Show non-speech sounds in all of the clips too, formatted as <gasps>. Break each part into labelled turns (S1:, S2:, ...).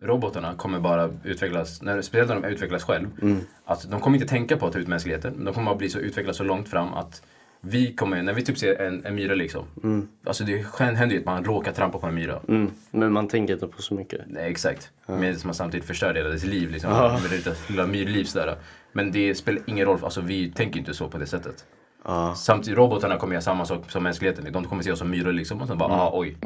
S1: robotarna kommer bara utvecklas, när, speciellt när de utvecklas själv,
S2: Mm.
S1: att de kommer inte tänka på att ta ut mänskligheten. men De kommer bara bli så utvecklade så långt fram att vi kommer, när vi typ ser en, en myra liksom, alltså det händer ju att man råkar trampa på en myra.
S2: Mm. Men man tänker inte på så mycket.
S1: Nej, exakt. Men som man samtidigt förstör hela dess liv. Liksom. Ja. Med ditt lilla myrliv sådär. Men det spelar ingen roll, för- alltså, vi tänker inte så på det sättet.
S2: Ja.
S1: Samtidigt, robotarna kommer göra samma sak som mänskligheten. De kommer se oss som myror liksom. Och sen bara,
S2: Mm.
S1: ah, oj.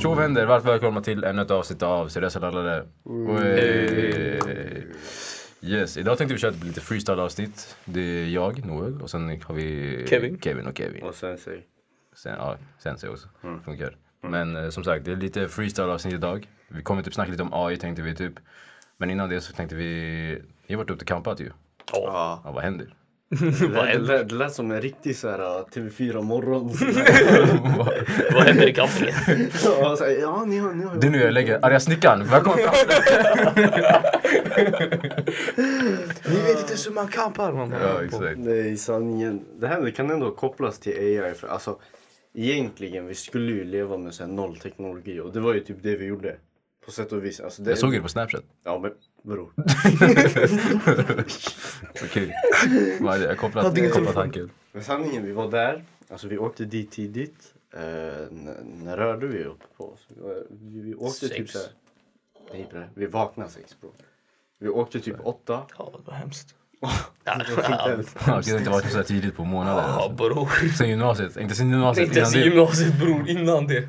S1: Tjo vänner, varmt välkomna till ännu ett avsnitt av Seriösa Lallare.
S2: Mm.
S1: Wey. Yes, idag tänkte vi köra ett lite freestyle-avsnitt. Det är jag, Noel, och sen har vi
S2: Kevin.
S1: Kevin och Kevin.
S2: Och sen säger
S1: Sen, ja, sensei också.
S2: Mm.
S1: Funkar. Men eh, som sagt, det är lite freestyle-avsnitt idag. Vi kommer typ snacka lite om AI tänkte vi typ. Men innan det så tänkte vi, ni har varit ute och campat ju.
S2: Ja.
S1: Ja, vad händer?
S2: <laughs> Det, lät- det, lät- det lät som en riktig så här, uh,
S1: <laughs>
S2: TV4 <laughs> morgon.
S3: Vad händer i campingen?
S2: ja, så här, ja, ni har, ni har.
S1: det är nu jag lägger arga snickaren, välkommen fram!
S2: <laughs> Ni vet inte hur man kampar. Man.
S1: ja, exakt.
S2: Nej, sanningen. Det här kan ändå kopplas till AI. För, alltså, egentligen, vi skulle ju leva med så här, noll teknologi och det var ju typ det vi gjorde. På sätt och vis. Alltså, det,
S1: Jag såg det på Snapchat.
S2: Ja, men bror.
S1: Okej. Vad är det? Jag kopplat,
S2: Hade ingen
S1: kopplat
S2: telefon.
S1: tanken.
S2: Men sanningen, vi var där. Alltså vi åkte dit tidigt. Eh, när, när rörde vi upp på oss? Vi, var- vi, vi åkte typ
S3: Sex.
S2: såhär... Nej bre, vi vaknade sex bro. Vi åkte typ åtta.
S3: Ja, vad hemskt.
S2: Det var skithemskt.
S1: Ja, Jag har inte varit så här tidigt på månaden.
S3: Ja,
S1: Alltså.
S3: bror.
S1: Sen gymnasiet. Inte sen gymnasiet
S3: Inte ens i
S1: innan det.
S3: gymnasiet bror, innan det.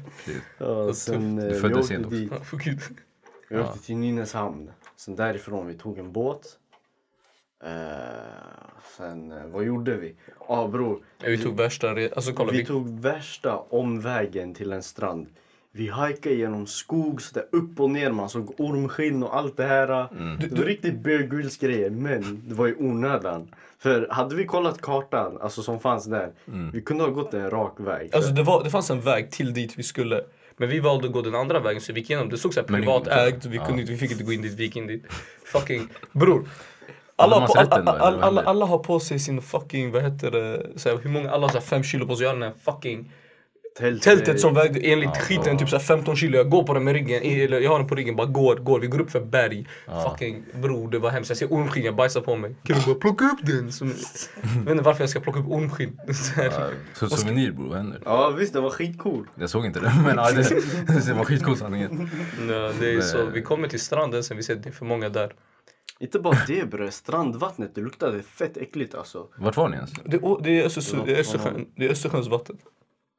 S2: Ja, sen, eh,
S1: Du
S2: vi
S1: föddes
S2: åkte
S1: sent också.
S2: dit.
S3: Ja, för gud.
S2: Vi åkte till Nynäshamn. Sen därifrån vi tog en båt. Eh, sen, eh, vad gjorde vi? Ja ah, bror,
S3: Ja, vi tog värsta re- Alltså kolla,
S2: vi
S3: vi...
S2: tog värsta omvägen till en strand. Vi hajkade genom skog, så där upp och ner, man såg ormskinn och allt det här.
S3: Mm.
S2: Det var riktigt Bear Grylls grejer, men det var i onödan. För hade vi kollat kartan alltså som fanns där, vi kunde ha gått en rak väg.
S3: Mm. Alltså det, var, det fanns en väg till dit vi skulle. Men vi valde att gå den andra vägen så vi gick igenom. Det såg såhär
S1: Men det gick
S3: privat
S1: inte.
S3: ägt. Vi,
S1: Ja.
S3: kunde inte, vi fick inte gå in dit, vi gick in dit. Fucking bror.
S1: Hade
S3: Alla,
S1: man
S3: har på,
S1: sett
S3: alla,
S1: den då, eller vad
S3: alla, alla,
S1: hände?
S3: alla har på sig sin fucking, vad heter det, såhär, hur många, alla har såhär fem kilo på sig. Jag har den här fucking
S2: Tältet,
S3: Tältet som vägde enligt
S1: Ja,
S3: skiten
S1: ja.
S3: typ så här 15 kilo, jag går på den med ryggen, eller jag har den på ryggen, bara går, går, vi går upp för berg. Fucking bror det var hemskt, jag ser ormskinn, jag bajsar på mig. Kan du bara plocka upp den? <laughs> Som, jag vet inte varför jag ska plocka upp ormskinn. <laughs> Så här.
S1: Ja, Så souvenir bror, vad händer?
S2: Ja visst, det var skitcool.
S1: Jag såg inte det, <laughs> men ja, det, det var skitcool sanningen.
S3: Nej, det är så, vi kommer till stranden sen vi ser att det är för många där.
S2: Inte bara det bre, strandvattnet det luktade fett äckligt alltså.
S1: Vart var ni ens?
S3: Det, är- det, är, Östers, det, är Östersjön, det är Östersjöns vatten,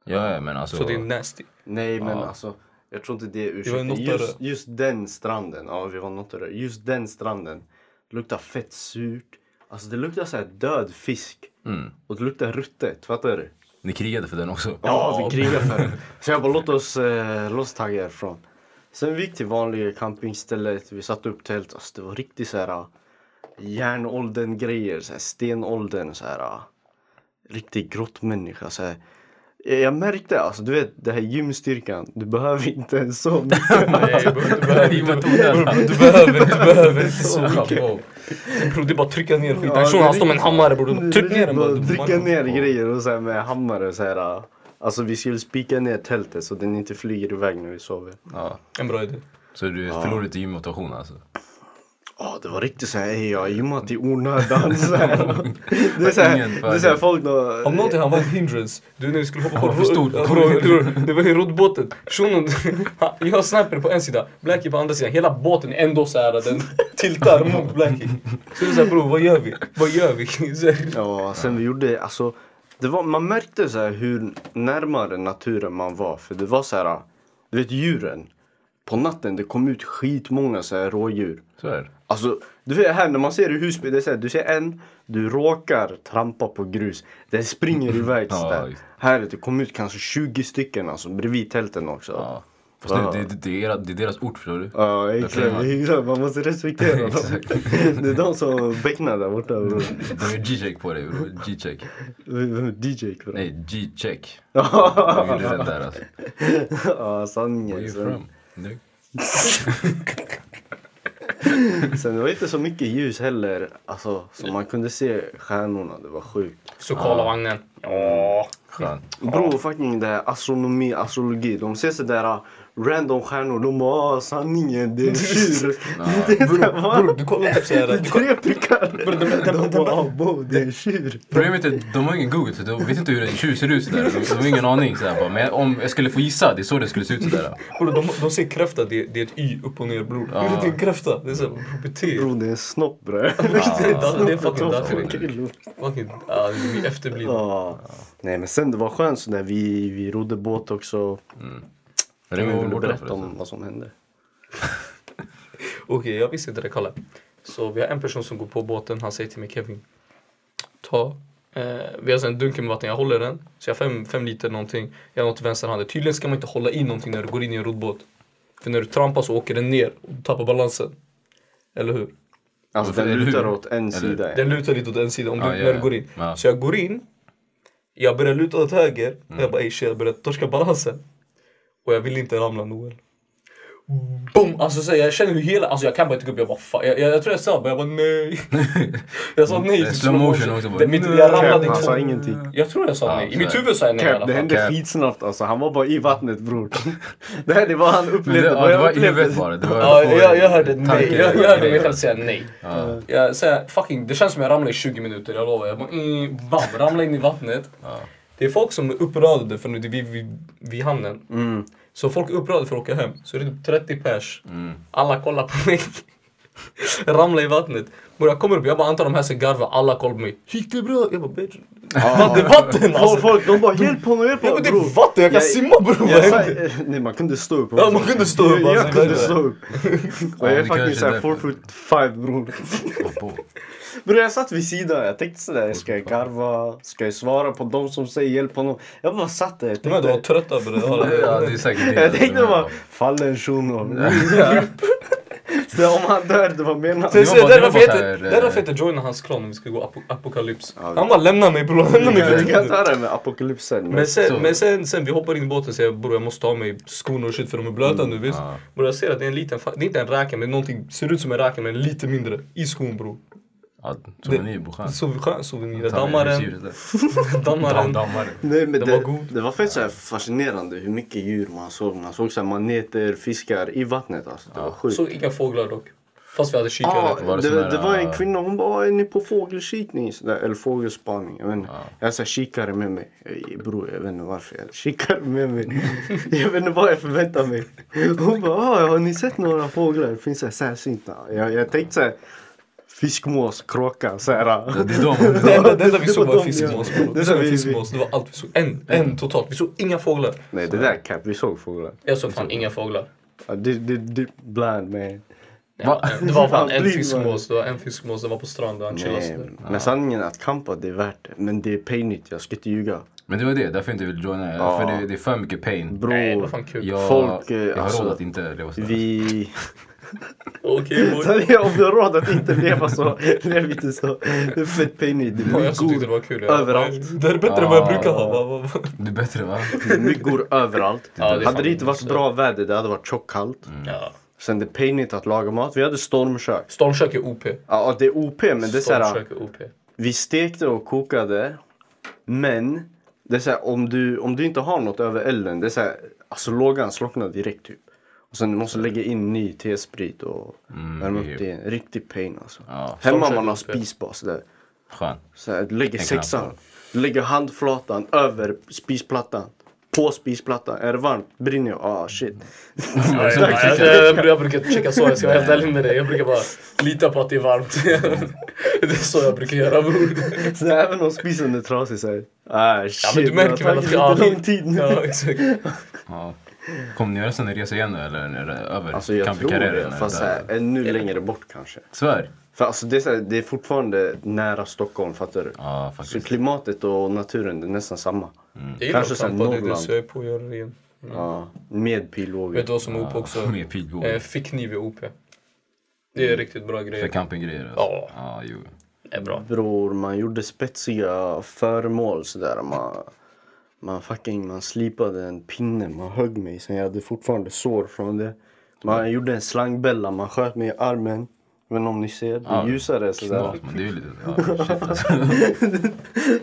S1: Ja, ja, men alltså.
S3: så det är nasty.
S2: Nej men
S1: Ja.
S2: alltså, jag tror inte det är
S3: var
S2: ursäkten.
S3: något
S2: Just,
S3: där.
S2: just den stranden, ja vi var något där. Just den stranden luktar fett surt. Alltså det luktar så här död fisk.
S1: Mm.
S2: Och det luktar ruttet, fattar du?
S1: Ni krigade för den också?
S2: Ja, vi krigar för det. <laughs> Så jag bara låt oss, eh, låt oss tagga härifrån. Sen vi gick till vanliga campingstället, vi satte upp tält. Alltså det var riktigt så här ah, järnåldern grejer, så här stenåldern så här. ah, Riktig grottmänniska så här. Jag jag märkte alltså, du vet det här gymstyrkan, du behöver inte en <laughs> sån.
S3: Nej bror, du <laughs> behöver
S1: Det var
S3: inte,
S1: onödan.
S3: <laughs> du behöver, du behöver inte så
S1: Ja,
S3: mycket.
S1: wow.
S3: Bror det är bara att trycka ner skiten.
S2: Ja,
S3: Han står- han
S2: det-
S3: står med en hammare bror, tryck ner den bara.
S2: bara.
S3: Du-
S2: Trycka
S3: man-
S2: ner grejer och så här med hammare och så här. ah. Alltså vi skulle spika ner tältet så den inte flyger iväg när vi sover.
S1: Ja.
S3: En bra idé.
S1: Så du förlorade lite gymmotivation alltså?
S2: Ja, det var riktigt såhär, ey jag har gymmat
S1: <laughs>
S2: i onödan. så här. det är såhär,
S1: Ingen
S2: det är såhär
S1: fördel.
S2: folk då...
S3: Om någonting han var en hindrance. Du när vi skulle hoppa
S1: Han
S3: på
S1: var för stor.
S3: Ja, bro, bro, Det var ju roddbåten. Shunon, han- jag har sniper på en sida, Blackie på andra sidan. Hela båten är ändå såhär, den tiltar mot Blackie. Så det är såhär bror, vad gör vi? Vad gör vi? Så här,
S2: Ja, sen vi gjorde, alltså. Det var, man märkte så här hur närmare naturen man var. För det var så här, du vet djuren. På natten det kom ut skitmånga så här rådjur.
S1: Så är det.
S2: Alltså, du vet här när man ser i Husby, det är så här, du ser en, du råkar trampa på grus. Den springer iväg
S1: Ja,
S2: sådär.
S1: just.
S2: Här, det kom ut kanske 20 stycken alltså, bredvid tälten också.
S1: Ja. Fast nu, det, det, det, är, era- det är deras ort förstår du.
S2: Ja,
S1: Där
S2: exakt.
S1: ser
S2: Exakt, Man måste respektera dem.
S1: Exakt.
S2: Det är de som bäcknar där borta. bror.
S1: De gör G-check på dig bror. G-check.
S2: Vem är DJ för <laughs> dem?
S1: Nej, G-check. De
S2: Ja,
S1: gjorde den där alltså. Where
S2: sanningen.
S1: you
S2: Sen,
S1: from? Nu?
S2: sen det var inte så mycket ljus heller. Alltså, så man kunde se stjärnorna. Det var sjukt.
S3: Så Karlavagnen. Ja.
S1: Skön.
S2: Bro, fucking det här astronomi, astrologi. De ser sådär random stjärnor. De bara ah, sanningen, det är tjur. <laughs> Det är sådär, va?
S3: Bror, du kollar typ
S2: Det är
S3: såhär.
S2: tre prickar. De bara ah, bo, det är tjur.
S1: Problemet är att de har ingen google så de vet inte hur en tjur ser ut sådär. De, de har ingen aning sådär bara. Men om jag skulle få gissa, det är så det skulle se ut sådär.
S3: <laughs> Bror, de, de ser kräfta, det, det är ett Y upp och ner bror.
S1: Ja.
S3: Hur är det en kräfta? Det är såhär, bete er.
S2: Bro, <laughs> det är en snopp bre.
S3: Det är dan- det är
S1: Fucking
S3: fucking därför. Fucking, ah, vi är efterblivna.
S2: Ja. Nej men sen det var skönt så när vi, vi rodde båt också.
S1: Men det
S2: Vi
S1: var
S2: vill
S1: väl borta
S2: berätta om
S1: förresten.
S2: vad som hände.
S3: Okej, jag visste inte det. Kolla. Så vi har en person som går på båten. Han säger till mig Kevin. Ta. Eh, vi har så en dunke med vatten. Jag håller den. Så jag har fem, fem liter någonting. Jag har något i vänsterhanden. Tydligen ska man inte hålla i någonting när du går in i en roddbåt. För när du trampar så åker den ner och du tappar balansen. Eller hur?
S2: Alltså
S1: Varför,
S2: den
S1: eller
S2: lutar
S1: hur?
S2: åt en sida.
S3: Den lutar lite åt en sida om du,
S1: Ja, ja,
S3: när du
S1: ja.
S3: går in.
S1: Ja.
S3: Så jag går in. Jag börjar luta åt höger. Och
S1: Mm.
S3: jag bara ey shit, jag börjar torska balansen. Och jag vill inte ramla Noel. Boom! Alltså så jag känner hur hela, alltså jag kan bara inte gå upp. Jag bara fan. Jag, jag, jag tror jag sa bara, jag
S1: <laughs>
S3: bara nej. jag sa nej
S1: Det är slow motion också, bara,
S3: Det, mitt, jag ramlade i
S2: Han sa
S3: två. Mm.
S2: ingenting.
S3: Jag tror jag sa
S1: Ja,
S3: nej. I
S1: så
S3: mitt
S1: är-
S3: huvud sa jag nej i alla
S2: Det
S3: fall.
S2: hände
S1: Cap.
S2: skitsnabbt alltså. Han var bara i vattnet bror. <laughs> det här det var han
S1: Men det,
S2: upplevde.
S1: ja,
S2: vad
S1: det
S2: jag
S1: var i
S2: upplevde.
S1: huvudet bara. Det var
S3: Ja, jag, jag hörde nej.
S1: tanken.
S3: Jag, jag hörde mig själv säga nej.
S1: Ja.
S3: Jag, så här, fucking, det känns som jag ramlade i 20 minuter, jag lovar. Jag bara, mm, bam, ramlade in i vattnet.
S1: Ja.
S3: Det är folk som är upprörda för nu, det är vi, vi, vi hamnen. Så folk är upprörda för att åka hem. Så det är typ 30 pers. Alla kollar på mig. <laughs> Ramla i vattnet. Bror jag kommer upp, jag bara antar de här som garvar, alla kollar på mig. Gick det bra? Jag bara bitch.
S1: <laughs>
S3: Det är vatten
S2: Folk,
S3: alltså!
S2: folk de bara hjälp honom, hjälp
S3: Ja,
S2: honom
S3: men det
S2: bror.
S3: är vatten, jag kan
S2: Jag-
S3: simma bror! Vad
S2: Jag sa,
S3: händer?
S2: eh, nej man kunde stå upp.
S3: Ja, man kunde stå upp,
S2: Jag,
S3: alltså,
S2: jag kunde
S3: det är
S2: stå upp. Och jag
S1: det
S2: är fucking
S1: kanske är
S2: såhär
S1: därför.
S2: 4 foot 5 bror. Bror jag satt vid sidan, jag tänkte sådär, ska jag garva? Ska jag svara på de som säger hjälp honom? Jag bara satt där, jag
S3: De här de var
S2: tänkte,
S3: trötta
S1: Ja,
S3: bror.
S1: det är säkert det.
S2: jag tänkte bara, fallen shunon. <laughs> Så om han dör, det var menat.
S3: Det
S1: Det var bara-
S3: är
S1: det var
S3: därför
S1: bara
S3: jag
S1: så här,
S3: heter- det är
S1: eh,
S3: därför jag heter Joyner hans klan om vi ska gå apo- apokalyps.
S2: Ja, vi-
S3: Han bara lämna mig bror, lämna mig för
S2: Vi kan
S3: helvete.
S2: ta det med apokalypsen. Men
S3: Men, sen,
S1: Så.
S3: men sen, sen vi hoppar in i båten och säger bror jag måste ta av mig skorna och shit för de är blöta nu visst.
S1: ja.
S3: Bror jag ser att det är en liten, fa- det är inte en räka men någonting, ser ut som en räka men lite mindre i skon bror.
S1: Ja, Souvenir på skärmen.
S3: Så vi skön souvenir,
S1: Ta med
S3: dammaren,
S1: husdjuret där.
S3: dammaren.
S1: Dammaren.
S2: Nej, men
S3: Den
S2: det,
S3: var god.
S2: det var fett såhär fascinerande hur mycket djur man såg. Man såg såhär maneter, fiskar i vattnet. Alltså, det var sjukt.
S3: Såg inga fåglar dock. Fast vi hade kikare.
S2: Ja,
S1: Var
S2: det,
S1: det
S2: det,
S1: sån här,
S2: var en
S1: äh,
S2: kvinna hon bara är ni på fågelkikning? Så där, eller fågelspaning. Jag vet inte. Jag har så här kikare med mig. Ey, Bror jag vet inte varför jag hade kikare med mig. <laughs> jag vet inte vad jag förväntar mig. Hon bara ah, har ni sett några fåglar? Det finns så här sällsynta. Jag, jag tänkte så här fiskmås, kråka så här.
S1: Det är dem.
S3: Det enda, det enda vi
S2: Det
S3: såg
S2: var
S3: var
S2: de,
S3: fiskmås.
S2: ja. Det
S3: Det,
S2: sa vi-
S3: vi, fiskmås. det var allt vi såg. En, en totalt. Vi såg inga fåglar.
S2: Nej det där cap, vi såg fåglar.
S3: Jag såg fan inga fåglar.
S2: Ja, Det, det, det blind man.
S3: Ja, det var
S2: <laughs>
S3: fan en
S2: Blir
S3: fiskmås. Det var en fiskmås som var på stranden. Han chillade
S2: Nej,
S3: sådär.
S2: men sanningen är att kampa det är värt det. Men det är painigt, jag ska inte ljuga.
S1: Men det var det, därför jag inte ville joina.
S2: Ja.
S1: För det, det är för mycket pain.
S2: Bror,
S3: Nej, det var fan kul.
S1: Jag,
S2: Folk, eh,
S1: jag har
S2: alltså,
S1: råd att inte leva sådär.
S2: vi...
S3: Okej boy.
S2: Om du har råd att inte leva så, lev inte så. Det är fett painigt. Det
S3: Ja,
S2: är
S3: jag som tyckte
S2: myggor
S3: det var kul. ja.
S2: överallt.
S3: Det här är bättre än vad jag
S1: Ah.
S3: brukar ha. Va, va, va.
S1: Det är bättre va?
S2: Det är myggor överallt.
S3: Ja, det är
S2: hade
S3: fan
S2: det inte varit
S3: så.
S2: bra väder, det hade varit tjockkallt.
S3: Ja.
S2: Sen det är painigt att laga mat. Vi hade stormkök.
S3: Stormkök är OP.
S2: Ja, och det är OP, men det är såhär,
S3: Stormkök är OP.
S2: vi stekte och kokade. Men, det är såhär, om du, om du inte har något över elden, det är såhär, alltså lågan slocknar direkt typ. Och sen du måste lägga in ny tesprit och
S3: Mm,
S2: värma
S1: det är-
S2: upp det. är en Riktig pain alltså.
S1: Ja.
S2: Hemma
S3: Stormkök
S2: man har
S3: är OP.
S2: spis bara sådär.
S1: Skön.
S2: Så här, du lägger
S1: En
S2: sexan.
S1: knapp
S2: Du lägger handflatan över spisplattan. På spisplattan. Är det varmt? Brinner jag? Ah shit.
S3: <laughs> Ja,
S1: Exakt.
S3: jag, jag, jag, jag brukar inte checka så, jag ska vara helt ärlig med dig. Jag brukar bara lita på att det är varmt. <laughs> Det är så jag brukar göra bror.
S2: Så här, även om spisen är trasig så här. Ah shit.
S3: Ja, men du
S2: det har
S3: märker väl att
S2: tagit
S3: ja,
S2: lite
S3: vi-
S2: lång tid nu.
S3: Ja, exakt.
S1: Ja. Kommer ni göra sån resa igen nu eller är det över?
S2: Alltså jag
S1: Camp i
S2: tror
S1: Carrera,
S2: det.
S1: eller
S2: Fast så
S1: där?
S2: här, ännu längre bort kanske.
S1: Svär?
S2: För alltså det är, så här, det är fortfarande nära Stockholm fattar du.
S1: Ja
S2: Så
S1: faktiskt.
S2: klimatet och naturen det är nästan samma.
S3: Jag gillar
S2: Kanske
S3: att
S2: så här
S3: trampa, det är det
S2: Norrland.
S3: så jag är på att göra det igen.
S2: Ja. Med
S3: Vet
S2: pilbåge.
S3: du vad som är OP också?
S1: <laughs> Med pilbåge.
S3: Eh, Fickkniv är OP. Det är riktigt bra grejer.
S1: För campinggrejer? alltså.
S3: Ja.
S1: Ja, jo.
S3: Det är bra.
S2: Bror, man gjorde spetsiga föremål sådär. Man, man fucking man slipade en pinne, man högg mig sen jag hade fortfarande sår från det. Man gjorde en slangbella, man sköt mig i armen. Jag vet inte om ni ser, det
S1: Ja,
S2: är ljusare sådär.
S1: Knas, men det är ju lite... Ja, shit alltså. <laughs>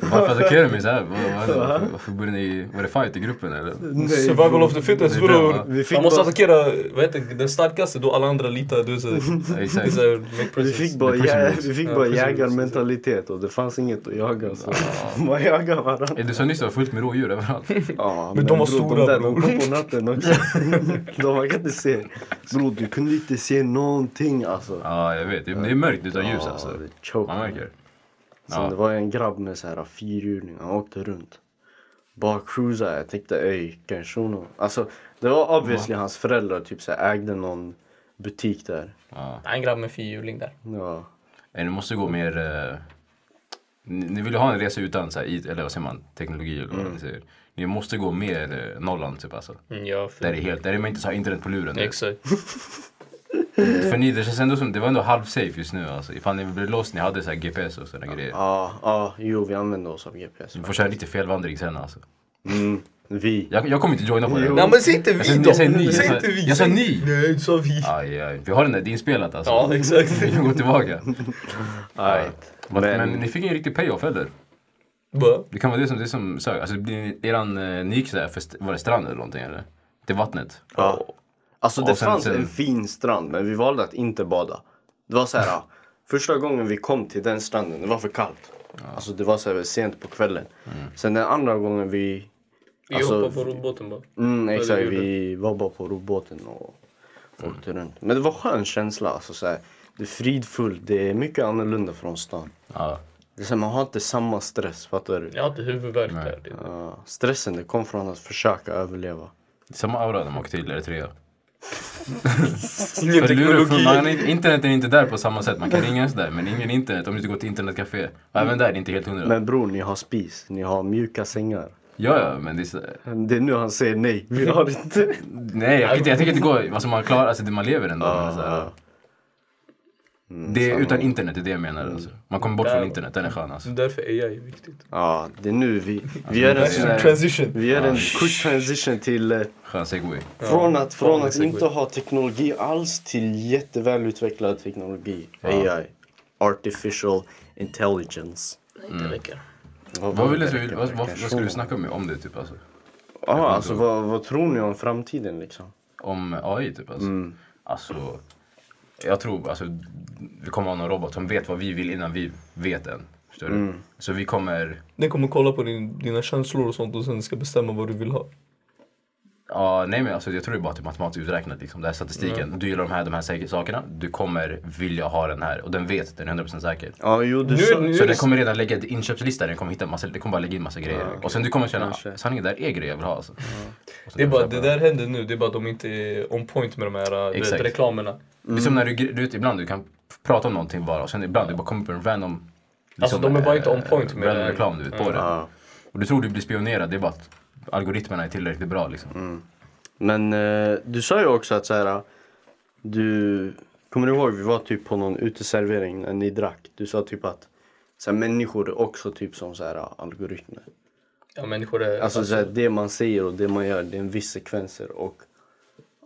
S1: Varför attackerar ni mig såhär? Vad- vad- Varför, varför började ni... Var det fight i gruppen eller?
S3: Survival of the fittest
S1: Det är bra, va?
S3: bror.
S2: Vi fick
S3: Man måste
S2: bara-
S3: attackera vad heter, det, den starkaste då alla andra litar. Du <laughs> säger.
S1: Ja,
S3: Det är
S1: Exakt.
S3: så här, make
S2: Vi
S3: presence.
S2: fick bara,
S1: Det är
S2: jä-
S1: precis.
S2: vi fick
S3: Ja,
S2: bara
S3: precis.
S2: jägarmentalitet och det fanns inget att jaga. Så <laughs> man jagade varandra.
S1: Eh, Du sa nyss att det var fullt med rådjur överallt.
S3: <laughs>
S2: Ja,
S3: Men de var
S2: bror, de
S3: stora,
S2: där,
S3: bror.
S2: De kom på natten också. <laughs> de man kan inte se. Bror, du kunde inte se någonting alltså.
S1: Ja, jag vet. Det det är mörkt utan ljus alltså.
S2: det choke.
S1: Man märker.
S2: Sen
S1: Ja.
S2: det var en grabb med så här fyrhjuling, han åkte runt. Bara cruisade, jag tänkte öj, kanske hon... Alltså det var obviously hans föräldrar typ så här, ägde någon butik där.
S1: Ja.
S3: Nej, En grabb med fyrhjuling där.
S2: Ja.
S1: Eh, Ni måste gå mer... eh, Ni ni vill ju ha en resa utan så här, it, eller vad säger man, teknologi eller vad man säger. Ni måste gå mer eh, Norrland typ alltså.
S3: Mm, ja, för...
S1: Där är, helt, där är man inte så här internet på luren. du vet.
S3: Exakt. <laughs>
S1: För ni, det känns ändå som, det var ändå halv safe just nu alltså. Ifall ni blev lost, ni hade så här GPS och sådana grejer.
S2: Ja, ja, jo vi använde oss av GPS.
S1: Du får köra lite felvandring sen alltså.
S2: Mm, vi.
S1: Jag, jag kommer inte joina på det.
S2: Jo.
S3: Nej men säg inte
S1: Jag
S3: vi
S1: sa-
S3: då!
S1: jag sa ni.
S3: Säg
S1: Jag sa-
S3: inte vi!
S1: jag sa
S3: Säg-
S1: ni.
S3: <laughs> Nej du sa vi!
S1: Aj, aj. Vi har den där, det är inspelat alltså.
S3: Ja exakt.
S1: Vi går tillbaka.
S2: Right.
S1: Men,
S2: Men-
S1: men ni fick ingen riktig payoff heller.
S3: <laughs> Bara,
S1: Det kan vara det som, det som sög. Alltså, blir ni- eran, eh, ni gick sådär för, st- var det strand eller någonting eller? Till vattnet?
S2: Ja. Alltså
S1: Ja,
S2: det
S1: sen-
S2: fanns
S1: sen-
S2: en fin strand men vi valde att inte bada. Det var så här, ja, första gången vi kom till den stranden, det var för kallt. Alltså det var så här sent på kvällen. Sen den andra gången vi,
S3: Vi
S2: Alltså-
S3: hoppar på roddbåten bara.
S2: mm,
S3: det
S2: exakt,
S3: gjorde
S2: vi var bara på roddbåten och åkte runt. Men det var skön känsla, alltså så här, det är fridfullt, det är mycket annorlunda från stan.
S1: Ja.
S2: Det är så här, man har inte samma stress, fattar du?
S3: Jag har inte huvudvärk
S1: Nej.
S3: där. Det-
S2: Ja, stressen det kom från att försöka överleva.
S1: Samma aura när man åker till Eritrea.
S3: Ingen
S1: För luren- för
S3: teknologi.
S1: man, internet är inte där på samma sätt. Man kan ringa sådär men ingen internet om du inte går till internetcafé. Och även där är det inte helt hundra.
S2: Men bror, ni har spis, ni har mjuka sängar.
S1: Ja, ja, men det är så...
S2: Det är nu han säger nej. Vi har <laughs> inte.
S1: Nej, jag, kan inte, jag tänker inte gå... Alltså man klarar... Alltså det- man lever ändå. men
S2: Ah,
S1: så här, det är utan internet, det är det jag menar. Alltså. Man kommer bort från internet, den är skön alltså.
S3: Så därför AI är viktigt.
S2: Ja, det är nu vi, vi gör en Ah, sån Alltså, här,
S3: Transition.
S2: Vi gör en quick transition till eh,
S1: Skön segway.
S2: från att, från
S3: fan,
S2: att
S3: segway.
S2: inte ha teknologi alls till jättevälutvecklad teknologi. AI. Artificial intelligence.
S3: Inte läcker.
S1: Mm. Vad, vill du, vad, vad, vad skulle du snacka med om det typ alltså?
S2: om? Alltså, vad, vad tror ni om framtiden liksom?
S1: Om AI typ alltså? Alltså, jag tror alltså vi kommer ha någon robot som vet vad vi vill innan vi vet än. Förstår du? Så vi kommer...
S3: Den kommer kolla på din, dina känslor och sånt och sen ska bestämma vad du vill ha.
S1: Ja, nej men alltså, jag tror det är bara typ matematiskt uträknat. Liksom, det här statistiken.
S3: Mm.
S1: Du gillar de här, de här säker- sakerna. Du kommer vilja ha den här. Och den vet att den är 100% säker.
S2: Ja, jo, du
S3: Nu-
S2: sa...
S3: nu-
S1: Så den kommer redan lägga en inköpslista. Den kommer, hitta massa, den kommer bara lägga in massa
S3: Ah,
S1: grejer. Och sen du kommer känna, "Ah,
S2: Kanske.
S1: sanningen där är grejer jag vill ha. Alltså. Och sen
S3: Det är
S1: kommer
S3: bara,
S1: du
S3: det
S1: köpa
S3: där händer nu, det är bara att de inte är on point med de här du vet,
S1: Exakt.
S3: reklamerna.
S1: Det är som
S3: Mm.
S1: när du, gre- du vet, ibland du kan prata om någonting bara och sen ibland du bara kommer på en random
S3: Alltså, de är bara inte on
S1: eh,
S3: point med Mm. Ah.
S1: random
S3: det.
S1: reklam du vet, på det.
S2: Ja.
S1: Och du tror du blir spionerad, det är bara att algoritmerna är tillräckligt bra liksom.
S3: Mm.
S2: Men eh, du sa ju också att så här, du kommer du ihåg vi var typ på någon uteservering när ni drack. Du sa typ att så här, människor är också typ som så här, algoritmer.
S3: Ja människor är...
S2: Alltså, så här, det man säger och det man gör det är en viss sekvenser och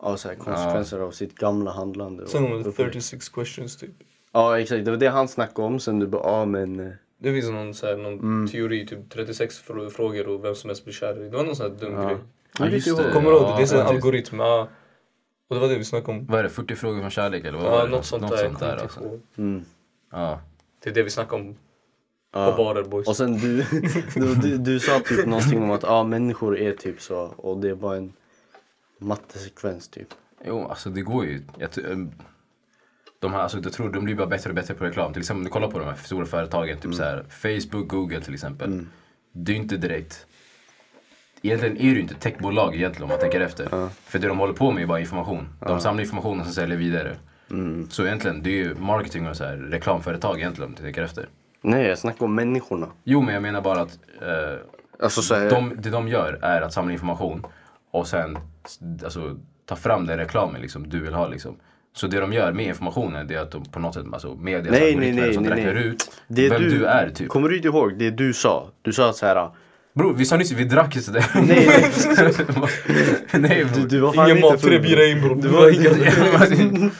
S2: ja, så här, konsekvenser av sitt gamla handlande. och
S3: sen har de
S2: upplägg.
S3: 36 questions typ.
S2: Ja exakt, det var det han snackade om sen du bara ja men eh,
S3: Det finns någon, så här, någon teori, typ 36 fr- frågor och vem som helst blir kär i. Det var någon sån här dum grej.
S1: Ja, just det.
S3: Kommer du ihåg? det?
S1: Ja,
S3: Det är så här en
S1: faktiskt.
S3: algoritm. Ja. Och det var det vi snackade om.
S1: Vad är det, 40 frågor från kärlek eller vad var
S3: Ja,
S1: det?
S3: något sånt där. jag kommer inte
S1: alltså.
S3: ihåg.
S1: Ja.
S3: Det är det vi snackade om
S2: ja.
S3: på barer boys.
S2: Och sen du, <laughs> du, du, du sa typ någonting om att ja, människor är typ så och det var en mattesekvens typ.
S1: Jo, alltså det går ju. Jag, t- ehm, de här, alltså, jag tror de blir bara bättre och bättre på reklam. Till exempel om du kollar på de här stora företagen, typ så här, Facebook, Google till exempel. Det är ju inte direkt... Egentligen är det ju inte techbolag egentligen om man tänker efter. För det de håller på med är bara information. De samlar information och sen säljer vidare. Så egentligen, det är ju marketing och så här, reklamföretag egentligen om du tänker efter.
S2: Nej, jag snackar om människorna.
S1: Jo, men jag menar bara att eh,
S2: Alltså så här,
S1: de, det de gör är att samla information och sen s- alltså, ta fram den reklamen liksom, du vill ha. Liksom. Så det de gör med informationen det är att de på något sätt, alltså media,
S2: Nej, nej,
S1: algoritmer
S2: nej,
S1: som
S2: nej, nej.
S1: räknar ut
S2: Det
S1: vem du, är typ.
S2: Kommer du inte ihåg det du sa? Du sa så här.
S1: Bror vi sa nyss vi drack ju sådär.
S2: Nej, nej.
S1: <laughs> nej
S2: Du,
S1: bror.
S2: du var fan
S3: Ingen
S2: inte
S3: mat, tre
S2: full.
S3: bira in bror.
S2: Du
S3: Du
S2: var
S3: var <laughs> inga...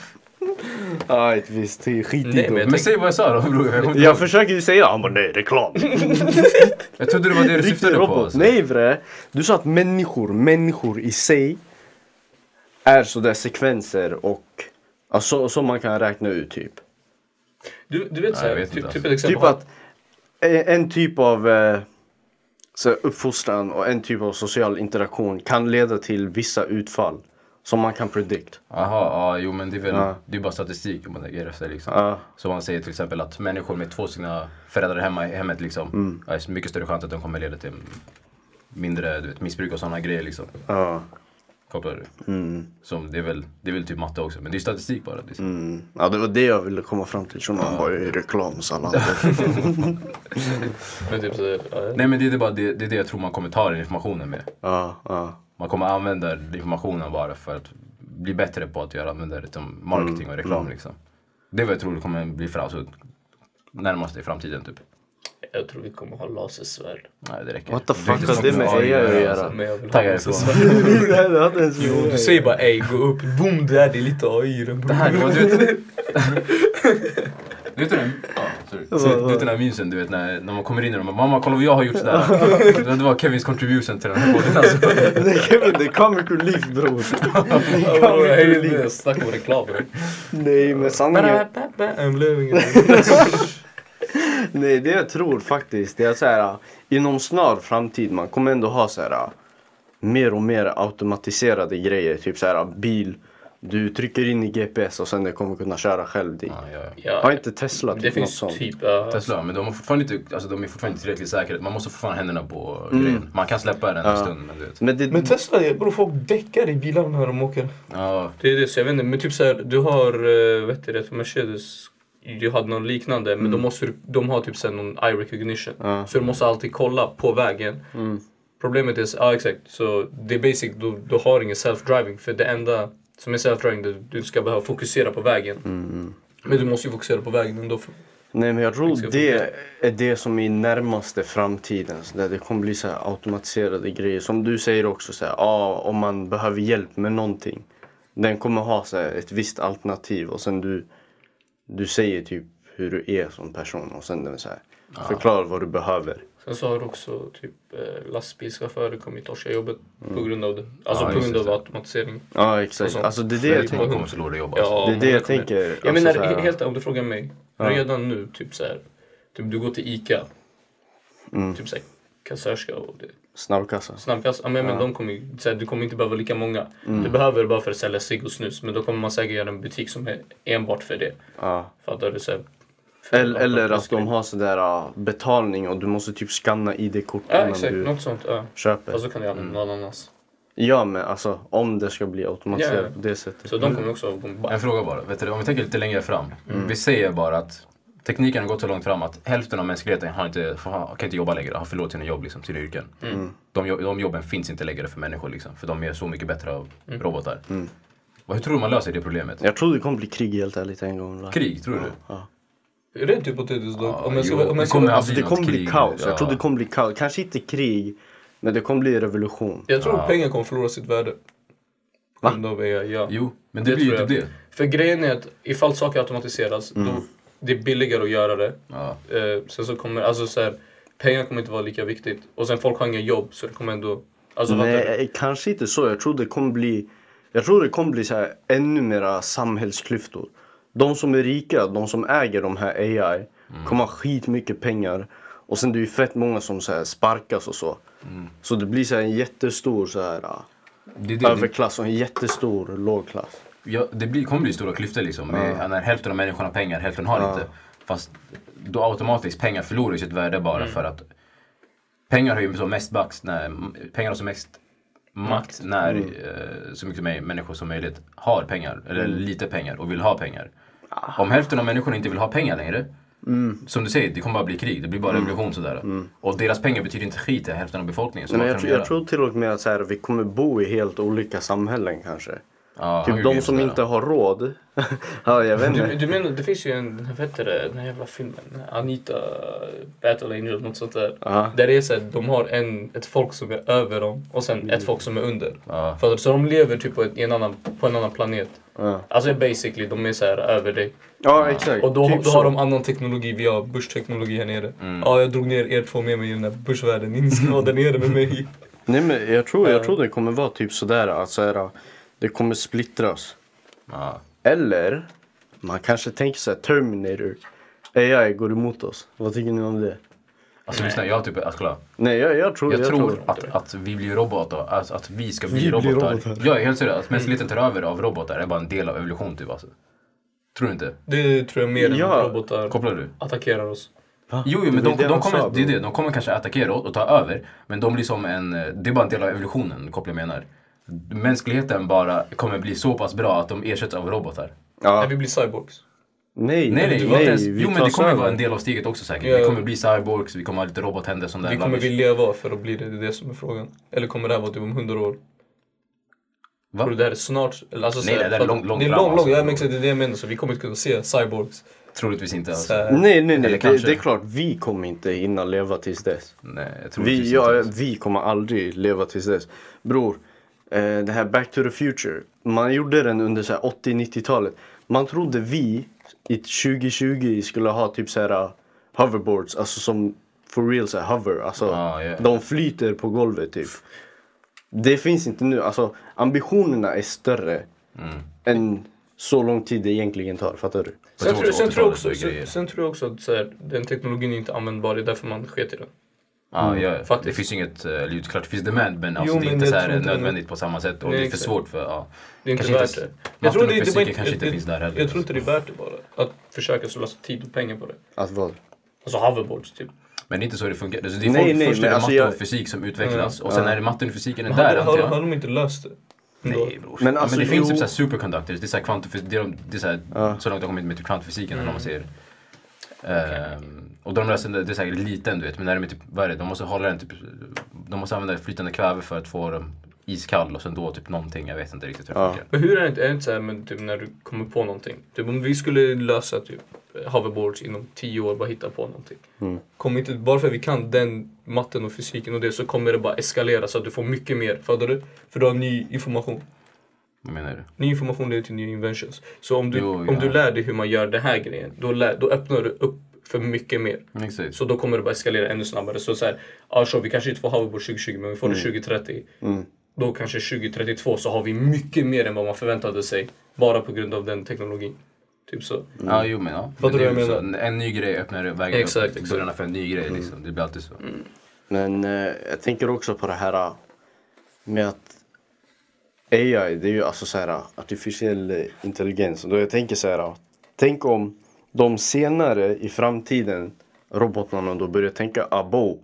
S2: Ja, ett visst. det är Skit i
S3: Nej,
S2: dem.
S3: men-
S1: Men säg vad jag sa då bror. Jag, kommer-
S2: Jag försöker ju säga han bara nej, reklam.
S1: jag trodde det var det du
S2: Riktig
S1: syftade på.
S2: robot.
S1: Alltså.
S2: Nej bre. Du sa att människor, människor i sig är sådär sekvenser och alltså, som man kan räkna ut typ.
S3: Du, du vet
S1: Nej, jag
S3: såhär,
S1: vet inte
S3: typ,
S1: alltså.
S3: typ ett exempel.
S2: Typ att eh, en typ av eh, så här, uppfostran och en typ av social interaktion kan leda till vissa utfall som man kan predict.
S1: Jaha, ja, jo men det är väl
S2: Ja.
S1: det är bara statistik om man lägger efter liksom.
S2: Ja.
S1: Så man säger till exempel att människor med två sina föräldrar hemma i hemmet liksom.
S2: Mm.
S1: ja, Det är mycket större chans att de kommer leda till mindre du vet, missbruk och sådana grejer liksom.
S2: Ja.
S1: Kopplar du? Som, det, är väl, det är väl typ matte också men det är statistik bara. Liksom.
S2: Mm. ja, det var det jag ville komma fram till. Så någon bara "Eh, reklamsallad.
S3: Men typ såhär, ja.
S1: Nej men det är, det bara, det, det är det jag tror man kommer ta den informationen med.
S2: ja, ja.
S1: Man kommer använda informationen bara för att bli bättre på att göra använda det som marketing
S2: Mm.
S1: och reklam liksom. Det är vad jag tror det kommer bli för, alltså, närmast i framtiden typ.
S3: jag tror vi kommer ha lasersvärd.
S1: Nej det räcker.
S2: What the
S1: Det är inte
S2: fuck har
S1: så
S2: det med
S1: mycket
S2: AI att göra?
S3: Men jag vill ha
S1: Taggar ifrån.
S3: lasersvärd. Jo, du säger bara ey, gå upp, boom där, det är lite AI i den bror.
S1: Det här, det var, du vet... Du vet, den, ja, sorry. Så, du vet den här musen, du vet när, när man kommer in och de bara “mamma kolla vad jag har gjort sådär”.
S2: <laughs>
S1: Det var Kevins contribution till den här podden alltså.
S2: Nej Kevin, <laughs> det är comic relief bror. Det är
S3: <laughs> Ja, bror,
S2: comic
S3: ey,
S2: relief.
S3: nu, Snacka om reklam bror.
S2: Nej men sanningen.
S3: I'm living it.
S2: Nej det jag tror faktiskt det är så här. äh, Inom snar framtid man kommer ändå ha så här. äh, Mer och mer automatiserade grejer. Typ så här bil. Du trycker in i GPS och sen den kommer kunna köra själv dit.
S1: Ja, ja, ja.
S2: Har
S3: Ja,
S2: inte Tesla
S3: det
S2: typ något
S3: finns
S2: sånt?
S3: typ... ja.
S1: Tesla, men de, har fortfarande inte, alltså, de är fortfarande inte tillräckligt säkra. Man måste fortfarande ha händerna på
S2: Mm.
S1: grejen. Man kan släppa den en stund men du vet.
S2: Men det,
S3: Men Tesla, bror folk däckar i bilarna när de åker.
S1: Ja,
S3: Det är det, så jag vet inte. Men typ såhär, du har, eh, vad heter det, för Mercedes, du hade någon liknande men
S1: Mm.
S3: de, måste, du- de har typ såhär någon eye recognition. Så du måste alltid kolla på vägen.
S1: Mm.
S3: Problemet är, så- ja exakt, så det är basic, du, du har ingen self-driving för det enda som är self-driving, du, du ska behöva fokusera på vägen.
S1: Mm,
S3: Men du måste ju fokusera på vägen ändå. För,
S2: nej men jag tror
S3: ska
S2: det är det som är närmaste framtiden. Så där det kommer bli så här automatiserade grejer. Som du säger också så här, ja, om man behöver hjälp med någonting. Den kommer ha så här, ett visst alternativ och sen du, du säger typ hur du är som person och sen den så här, förklarar vad du behöver.
S3: sen så har också typ eh, lastbilschaufförer kommit torska jobbet på grund av det. Alltså
S1: Mm. Ja,
S3: på
S1: just
S3: grund av
S1: det.
S3: automatisering.
S2: Ja
S3: Och
S2: exakt.
S3: sånt.
S2: Alltså det är det jag
S1: det
S2: tänker.
S1: man kommer förlora jobb alltså.
S3: Ja,
S2: Det är det jag
S3: många kommer.
S2: tänker. Alltså,
S3: Jag menar
S2: så här-
S3: helt om du frågar mig. Redan nu, typ så här, typ du går till ICA.
S2: Mm.
S3: Typ såhär kassörska och det.
S2: Snabbkassa.
S3: snabbkassa. Ja, men, men de kommer, ju- så här, du kommer inte behöva lika många.
S2: Mm.
S3: Du behöver bara för att sälja cigg och snus. Men då kommer man säkert göra en butik som är enbart för det.
S2: Ja.
S3: Fattar du? Så här, för
S2: Eller,
S3: att-
S2: eller att de har sådär ja, betalning och du måste typ skanna ID-kort
S3: Ja
S2: innan
S3: exakt, Alltså,
S2: du
S3: något sånt. Ja.
S2: köper.
S3: Fast då kan du
S2: Mm.
S3: använda någon annans.
S2: Ja men alltså om det ska bli automatiserat
S3: Ja, ja.
S2: på det sättet.
S3: Så de kommer också att
S1: En
S3: bomba.
S1: fråga bara. Vet du, om vi tänker lite längre fram. Vi säger bara att tekniken har gått så långt fram att hälften av mänskligheten har inte, har, kan inte jobba längre. Har förlorat sina jobb, liksom, sina yrken. De, jo- de jobben finns inte längre för människor. Liksom, för de är så mycket bättre av robotar. Vad- Hur tror du man löser det problemet?
S2: Jag tror det kommer bli krig helt ärligt en gång. va?
S1: Krig, tror du?
S3: Rent hypotetiskt dock. Om jag
S1: jo,
S3: ska vara- om
S1: det
S3: jag ska
S1: kommer
S3: vara-
S2: Alltså det
S1: blir något
S2: kommer bli
S1: krig,
S2: kaos. Jag
S1: ja.
S2: tror det kommer bli kaos. Kanske inte krig men det kommer bli revolution.
S3: Jag tror
S1: Ja.
S3: pengar kommer förlora sitt värde.
S2: Va?
S3: Om de är, ja.
S1: Jo, men det,
S3: Det
S1: blir ju
S3: tror
S1: typ
S3: jag.
S1: det.
S3: För grejen är att ifall saker automatiseras, då det är billigare att göra det.
S1: Ja.
S3: Eh, sen så kommer, alltså så här, pengar kommer inte vara lika viktigt. Och sen folk har inga jobb så det kommer ändå, alltså fattar du?
S2: Nej, eh, kanske inte så. Jag tror det kommer bli, jag tror det kommer bli så här, ännu mera samhällsklyftor. De som är rika, de som äger de här AI, kommer ha skitmycket pengar. Och sen det är ju fett många som så här, sparkas och så. Så det blir så här, en jättestor så här, ah,
S1: Det, är det, det,
S2: överklass och en jättestor lågklass.
S1: ja, det blir, kommer bli stora klyftor liksom. Med, När hälften av människorna har pengar, hälften har inte. Fast då automatiskt, pengar förlorar ju sitt värde bara för att pengar har ju som mest makt när, pengar har som mest makt när
S2: Mm.
S1: eh, så mycket som människor som möjligt
S2: Mm.
S1: har pengar, eller lite pengar och vill ha pengar. Om hälften av människorna inte vill ha pengar längre,
S2: Mm.
S1: Som du säger, det kommer bara bli krig. Det blir bara revolution sådär. Och deras pengar betyder inte skit till hälften av befolkningen. Så
S2: Men
S1: vad
S2: Mm.
S1: kan
S2: jag,
S1: de
S2: tror- jag
S1: göra?
S2: tror till och med att så här, vi kommer bo i helt olika samhällen kanske.
S1: Ja, han
S2: Typ
S1: gjorde
S2: de
S1: ju
S2: som
S1: sådär.
S2: inte har råd. <laughs> ja, jag vet
S3: Du,
S1: Mm.
S2: inte.
S3: du menar, det finns ju en, vad heter det, den här jävla filmen, Anita Battle Angel, något sånt där.
S2: Ja.
S3: Där det är så att de har en, ett folk som är över dem och sen ett folk som är under.
S1: Ja.
S3: För, så de lever typ på, ett, i en, annan, på en annan planet.
S2: Ja.
S3: Alltså basically, de är så här över dig.
S2: ja, exakt.
S3: Och då,
S2: Typ
S3: då
S2: så.
S3: har de annan teknologi, vi har börsteknologi här nere.
S1: Mm.
S3: Ja, jag drog ner er två med mig i den där börsvärlden, ni ska vara där nere med mig.
S2: Nej, men jag tror,
S1: Eh.
S2: jag tror det kommer vara typ sådär att så här, det kommer splittras.
S1: Ja.
S2: Eller man kanske tänker så här Terminator. AI går emot oss. Vad tycker ni om det?
S1: Alltså lyssna, jag typ, alltså kolla.
S2: Nej, jag, jag tror...
S1: Jag, tror,
S2: det.
S1: att, att vi blir robotar, alltså, att vi ska bli
S2: Vi blir
S1: robotar.
S2: robotar. Mm.
S1: Jag är helt seriös, att mänskligheten tar över av robotar är bara en del av evolution typ alltså. Tror du inte?
S3: Det tror jag mer än
S2: Ja.
S3: robotar
S1: Kopplar du?
S3: attackerar oss.
S2: Va?
S1: Jo, jo men
S2: var
S1: de,
S2: det
S1: de,
S2: han
S1: kommer,
S2: sa,
S1: det är
S2: bro.
S1: det, de kommer kanske attackera oss och ta över. Men de blir som en, eh, det är bara en del av evolutionen, kopplar jag menar. Mänskligheten bara kommer bli så pass bra att de ersätts av robotar.
S3: När
S2: Ja.
S3: vi blir cyborgs.
S1: Nej,
S2: Nej,
S1: nej,
S2: vi-
S1: inte ens,
S2: vi
S1: jo men det
S2: tas
S1: kommer
S2: över.
S1: vara en del av steget också säkert.
S3: Ja.
S1: Vi kommer bli cyborgs, vi kommer ha lite robothänder som där.
S3: Vi kommer
S1: rubbish.
S3: vi leva för att bli det? Det är det som är frågan. Eller kommer det här vara typ om 100 år?
S1: Va?
S3: Tror du det här är snart? Eller Alltså,
S1: Nej,
S3: så här,
S1: det där är
S3: för att-
S1: långt, långt
S3: Det är
S1: fram,
S3: långt, långt.
S1: alltså.
S3: Ja, men exakt, det är det jag menar. Så vi kommer inte kunna se cyborgs. eh,
S1: Troligtvis inte
S3: Så
S1: alltså.
S3: här,
S2: Nej, nej,
S1: Eller
S2: nej. Det,
S1: kanske.
S2: det är klart, vi kommer inte hinna leva tills dess.
S1: Nej, troligtvis
S2: Vi,
S1: inte.
S2: ja,
S1: alltså.
S2: vi kommer aldrig leva tills dess. Bror, eh, det här Back to the Future. Man gjorde den under så här 80-90-talet. Man trodde vi i 2020 skulle ha typ så här uh, hoverboards, alltså som for real så här hover. Alltså,
S1: Ah, ja.
S2: de flyter på golvet typ. Det finns inte nu. Alltså ambitionerna är större än så lång tid det egentligen tar. Fattar du?
S3: Sen, tror, sen, tror jag också,
S1: 80-talet var grejer.
S3: sen, sen tror jag också att så här, den teknologin är inte användbar, det är därför man sket i den.
S1: Ja, ja. Det
S3: faktiskt.
S1: finns ju inget, eh, eller klart det finns demand men, alltså,
S3: Mm. Jo,
S1: det är
S3: men
S1: inte
S3: jag
S1: så här
S3: tror inte-
S1: nödvändigt på samma sätt och det
S3: Nej,
S1: är för
S3: exakt.
S1: svårt för, ja.
S3: Det är inte
S1: Kanske
S3: värt
S1: inte-
S3: det.
S1: matten och
S3: det- det var
S1: fysiken kanske inte
S3: jag-
S1: finns där heller. liksom.
S3: Jag tror inte det är värt det bara. Att försöka slösa tid och pengar på det.
S2: Att vad?
S3: Alltså hoverboards typ.
S1: Men det är inte så det funkar. Alltså, det är
S2: Nej,
S1: folk,
S2: nej,
S1: först är
S2: men
S1: det
S2: alltså
S1: matte
S2: jag-
S1: och fysik som utvecklas
S3: Mm.
S1: och sen är det matten och fysiken är
S3: Hade,
S1: där antar
S3: hade,
S1: jag.
S3: hade de inte löst det? ändå?
S1: Nej bror.
S2: Men
S1: Men,
S2: alltså,
S1: men det finns
S2: jo.
S1: typ såhär superconductors, det är såhär kvantofysik, det är, de, det är såhär, så långt de kommit med typ kvantfysiken
S3: Mm.
S1: eller vad man säger. Ehm, och de löser det, det är såhär liten du vet, men när de är typ, vad är det, de måste hålla den typ, de måste använda flytande kväve för att få dem iskall och sen då typ någonting, jag vet inte riktigt hur det
S2: Ja.
S1: funkar.
S3: Men hur är det inte, är det inte så här med typ när du kommer på någonting? Typ om vi skulle lösa typ hoverboards inom tio år, bara hitta på någonting. Kommer inte, bara för att vi kan den matten och fysiken och det så kommer det bara eskalera så att du får mycket mer. Fattar du? För du har ny information.
S1: Vad menar du?
S3: Ny information leder till nya inventions. Så om du,
S1: Jo, ja.
S3: om du lär dig hur man gör den här grejen, då, lär, då öppnar du upp för mycket mer.
S1: Exakt.
S3: Så då kommer det bara eskalera ännu snabbare. Så, så här, ah, sure, vi kanske inte får hoverboard 2020 men vi
S1: Mm.
S3: får det 2030. Då kanske 2032 så har vi mycket mer än vad man förväntade sig. Bara på grund av den teknologin. Typ så.
S1: Ja, jo men ja.
S3: Fattar
S1: Men det
S3: du vad
S1: är
S3: jag
S1: ju så. En ny grej öppnar vägen
S3: Exakt,
S1: upp,
S3: exakt. Mm.
S1: dörrarna för en ny
S2: Mm.
S1: grej liksom. Det blir alltid så.
S2: Men eh, jag tänker också på det här eh, med att AI, det är ju alltså så här eh, artificiell eh, intelligens. Och Då jag tänker så här, eh, tänk om de senare i framtiden robotarna då börjar tänka abo,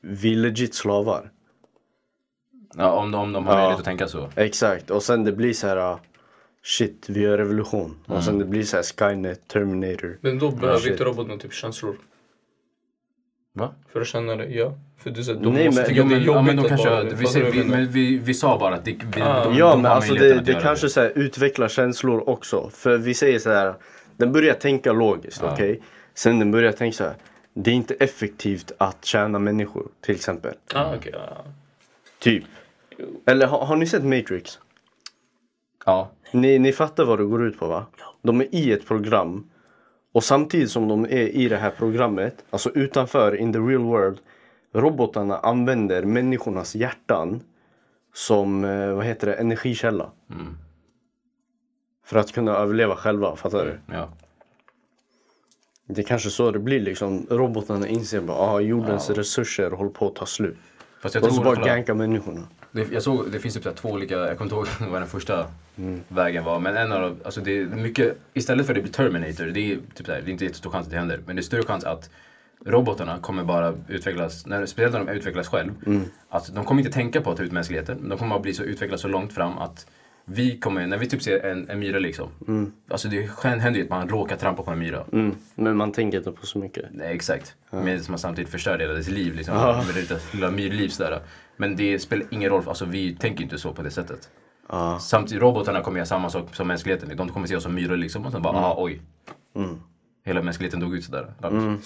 S2: vi är legit slavar.
S1: Ja, om, de- om de har
S2: Ja.
S1: möjlighet att tänka så.
S2: Exakt, och sen det blir så här eh, shit, vi gör revolution. Och sen det blir så här Skynet, Terminator.
S3: Men då behöver
S2: shit.
S3: inte roboten typ känslor.
S1: Va?
S3: För att känna det, ja. För du säger, de
S2: Nej,
S3: måste
S2: men-
S3: tycka
S1: Jo,
S3: att det är
S1: men,
S3: jobbigt
S1: ja, men de
S3: att
S1: kanske,
S3: bara-
S1: vi,
S3: Fattar
S1: ser,
S3: du vad
S1: vi,
S3: jag menar?
S1: men vi, vi sa bara att det, vi,
S3: Ah.
S1: de,
S2: Ja
S1: de
S2: men
S1: har
S2: alltså
S1: möjligheten
S2: det,
S1: att
S2: det
S1: göra
S2: kanske så här utvecklar känslor också. För vi säger så här, den börjar tänka logiskt, okej? Sen den börjar tänka så här, det är inte effektivt att tjäna människor till exempel.
S3: Ah, okej, ja.
S2: Typ. Eller har, har ni sett Matrix?
S1: Ja.
S2: Ni, ni fattar vad det går ut på va? De är i ett program. Och samtidigt som de är i det här programmet, alltså utanför, in the real world. Robotarna använder människornas hjärtan som, eh, vad heter det, energikälla.
S1: Mm.
S2: För att kunna överleva själva, fattar du?
S1: Ja.
S2: Det är kanske så det blir liksom. Robotarna inser bara ah, jordens resurser håller på att ta slut.
S1: Fast jag
S2: Och så
S1: tror,
S2: bara
S1: kolla,
S2: gankar människorna.
S1: det, jag såg, det finns typ så här två olika, jag kommer inte ihåg <laughs> vad den första
S2: Mm.
S1: vägen var. Men en av dem, alltså det är mycket, istället för att det blir Terminator, det är typ så här, det är inte jättestor chans att det händer. Men det är större chans att robotarna kommer bara utvecklas, när, speciellt
S2: Mm.
S1: när de utvecklas själv. Att de kommer inte tänka på att ta ut mänskligheten, men de kommer bara bli så utvecklas så långt fram att vi kommer, när vi typ ser en, en myra liksom. Alltså det händer ju att man råkar trampa på en myra.
S2: Mm. Men man tänker inte på så mycket.
S1: Nej, exakt. Men som man samtidigt förstör hela dess liv. Liksom. Med det där lilla myrliv sådär. Men det spelar ingen roll, för- alltså, vi tänker inte så på det sättet.
S2: Ja.
S1: Samtidigt, robotarna kommer göra samma sak som mänskligheten. De kommer se oss som myror liksom och sen bara, ah, oj. Hela mänskligheten dog ut sådär.
S3: Mm.